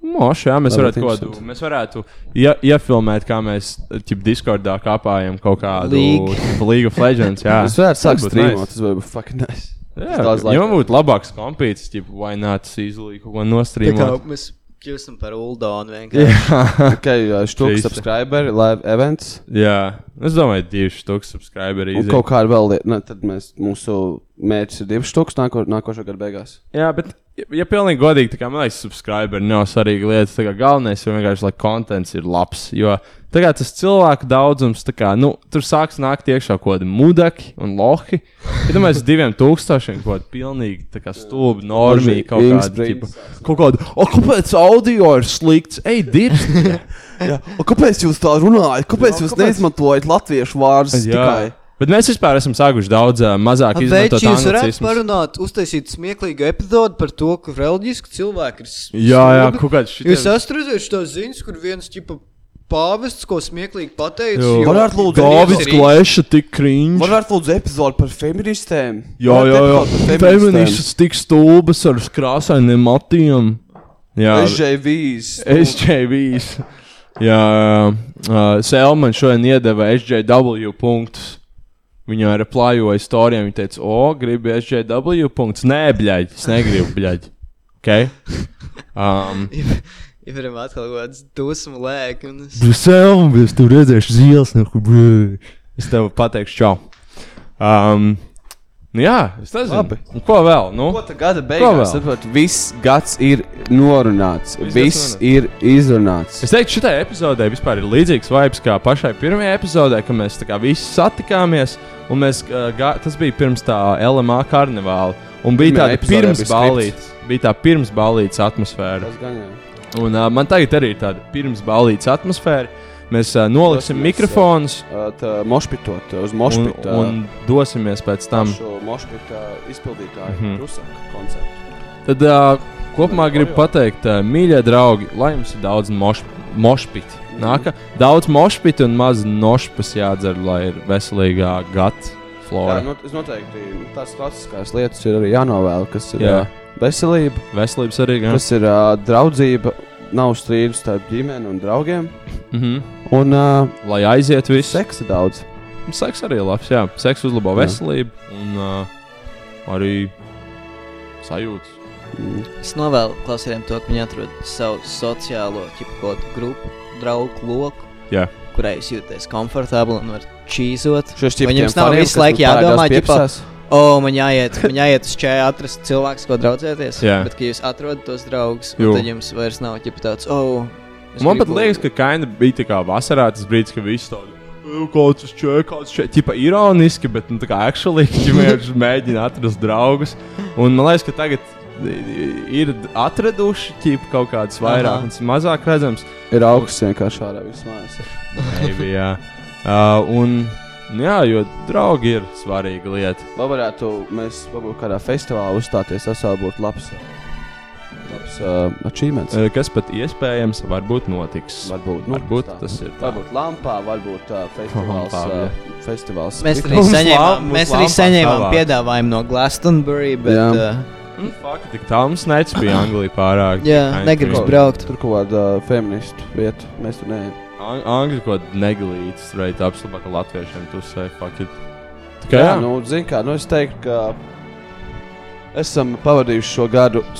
Moš, jā, mēs Varbūt varētu kaut kādu. interesanti. Mēs varētu ie, iefilmēt, kā mēs ķip, Discordā kāpājam kaut kādu League. tipu League of Legends. Jā, Es varētu sākt būtu streamot, nice. tas varētu būt fucking nice. Jā, ja man būtu labāks kompīts, tad why not easily kaut ko Tā kā nostrīmot. mēs kļūstam par Uldonu vienkārši. Tikai Trīs. štuks subscriberi, live events. Jā, es domāju, divi stūki subscriberi. Un easy. kaut kā ar vēl lietu, ne, tad mēs, mūsu mērķis ir divi štuks nāko, nākošā gada beigās. Jā, bet, ja, ja pilnīgi godīgi, tad man liekas, subscriberi nav svarīga lieta. Tā kā Galvenais ir vienkārši, lai konteksts ir labs. Jo tā kā tas cilvēku daudzums, tā kā, nu, tur sāks nākt iekšā kaut kādi mudaki un lohi. Ja domāju, es diviem tūkstošiem kaut kāda pilnīgi tā kā stulba normija, Daži kaut kāda Inksprings. tipa. Kaut kāda, o, kāpēc audio ir slikts? Ej, dirbi! Jā. O, kāpēc jūs tā runājat? Kāpēc jā, jūs kāpēc? neizmantojat latviešu vārdus? Jā. Bet mēs vispār esam sākuši daudz uh, mazāk Bet izmantot jūs varētu anglicismus. parunāt, uztaisīt smieklīgu epizodi par to, ka reliģiski cilvēki ir. Jā, jā, stulbi. kaut kāds šitiem- Jūs astradzējuši to ziņas, kur viens ķipa pāvests, ko smieklīgi pateicis. Jā. Varētu lūdzu, Dāvids Glaiša tik krīņš. Varētu lūdzu epizodi par feministēm. Jā, jā, jā. Feministas tik stulbas ar krāsainiem matiem. Jā. SJVs. SJVs. Jā, uh, Selman šodien iedeva SJW punktus. Viņa ir aplājoja stāstiem. Viņa teica, o, gribi SJW punktus. Nē, bļaļ, es negribu, bļaļ. Okay? Um, Ja varam atkal kaut kādas dusmu lēkmes. Brīselme, es tev redzēšu zils, no kuras es tev pateikšu, čau. Um, nu jā, es nezinu. Labi. Un ko vēl? Nu? Ko tā gada beigās? Saprot, viss gads ir norunāts, viss, viss ir izrunāts. Es teiktu, šitai epizodē vispār ir līdzīgs vibes kā pašai pirmajai epizodē, kad mēs tā kā visi satikāmies. Un mēs, uh, gā, tas bija pirms tā LMA karnevāla. Un bija tāda Pirmajā epizodē bija pirms skripts. balītes, bija tā pirms balītes atmosfēra. Tas gan jau. Un uh, man tagad arī ir tāda pirms balītes atmosfēra. Mēs uh, noliksim mikrofonus. Uh, tā mošpitot, uz mošpita. Un, un dosimies pēc tam. Šo mošpita izpildītāju mm Mhm. -hmm. Rusaka koncertu. Tad uh, kopumā gribu pateikt, uh, mīļie draugi, lai jums ir daudz moš- mošpiti. Nāka daudz mošpiti un maz nošpas jādzer, lai ir veselīgā gata Jā, flora. nu, tas noteikti tās klasiskās lietas ir arī jānovēl, kas ir Jā. jā. veselība, Veselības arī gan. kas ir uh, draudzība, nav strīdus starp ģimeni un draugiem. Mm -hmm. Un uh, Lai aiziet viss. seksa daudz. Seks arī labs, jā. Seks uzlabo Jā. veselību un uh, arī sajūtas. Mm. Es novēlu klausītājiem to, ka viņi atrod savu sociālo ķipu kaut kādu grupu, draugu loku, Jā. kurai jūs jūties komfortabli un varat čīzot. Šos Vai ķiptiem jums nav fariem, visu kas laiku mums jādomā, parādās ķipā, piepsās? o, man jāiet, man jāiet uz čēju atrast cilvēks, ko draudzēties. Jā. Bet, ka jūs atrodat tos draugus, Jū. un tad jums vairs nav ķipa tāds, o, es Man pat gribu- liekas, ka kaina bija tā kā vasarā tas brīdis, kad viss tāds - kaut kas čēk, kaut kas čēk, tipa ironiski, bet nu, tā kā actually ģimenes mēģina atrast draugus. Un man liekas, ka tagad i- i- ir atraduši ķipa kaut kādas vairāk, Aha. un mazāk redzams. Ir augsts vienkārši ārā vismaz. Maybe, jā. Uh, un, nu jā, jo draugi ir svarīga lieta. Vai varētu mēs varbūt kādā festivālā uzstāties? Tas vēl būtu labs, labs uh, achievements. Uh, Kas pat iespējams, varbūt notiks. Varbūt, nu, varbūt tas ir. Varbūt lampā, varbūt uh, festivāls. Lampā, jā. Uh, festivāls Mēs arī Mums saņēmām, lam- mēs mums arī lampā saņēmām savāks. piedāvājumu no Glastonbury, bet Jā. uh, Tik tālu mums nec bija Anglijā pārāk. Jā, Kaina negribas krīze. braukt. Tur kaut kāda uh, feministu vieta. Mēs tur neejam. Ang- Angļu kaut kāda neglīta, straight up, labāk kā latviešiem. Tu saki, fuck it. Tā kā nu, Jā, nu, zini kā, nu es teiktu, ka esam pavadījuši šo gadu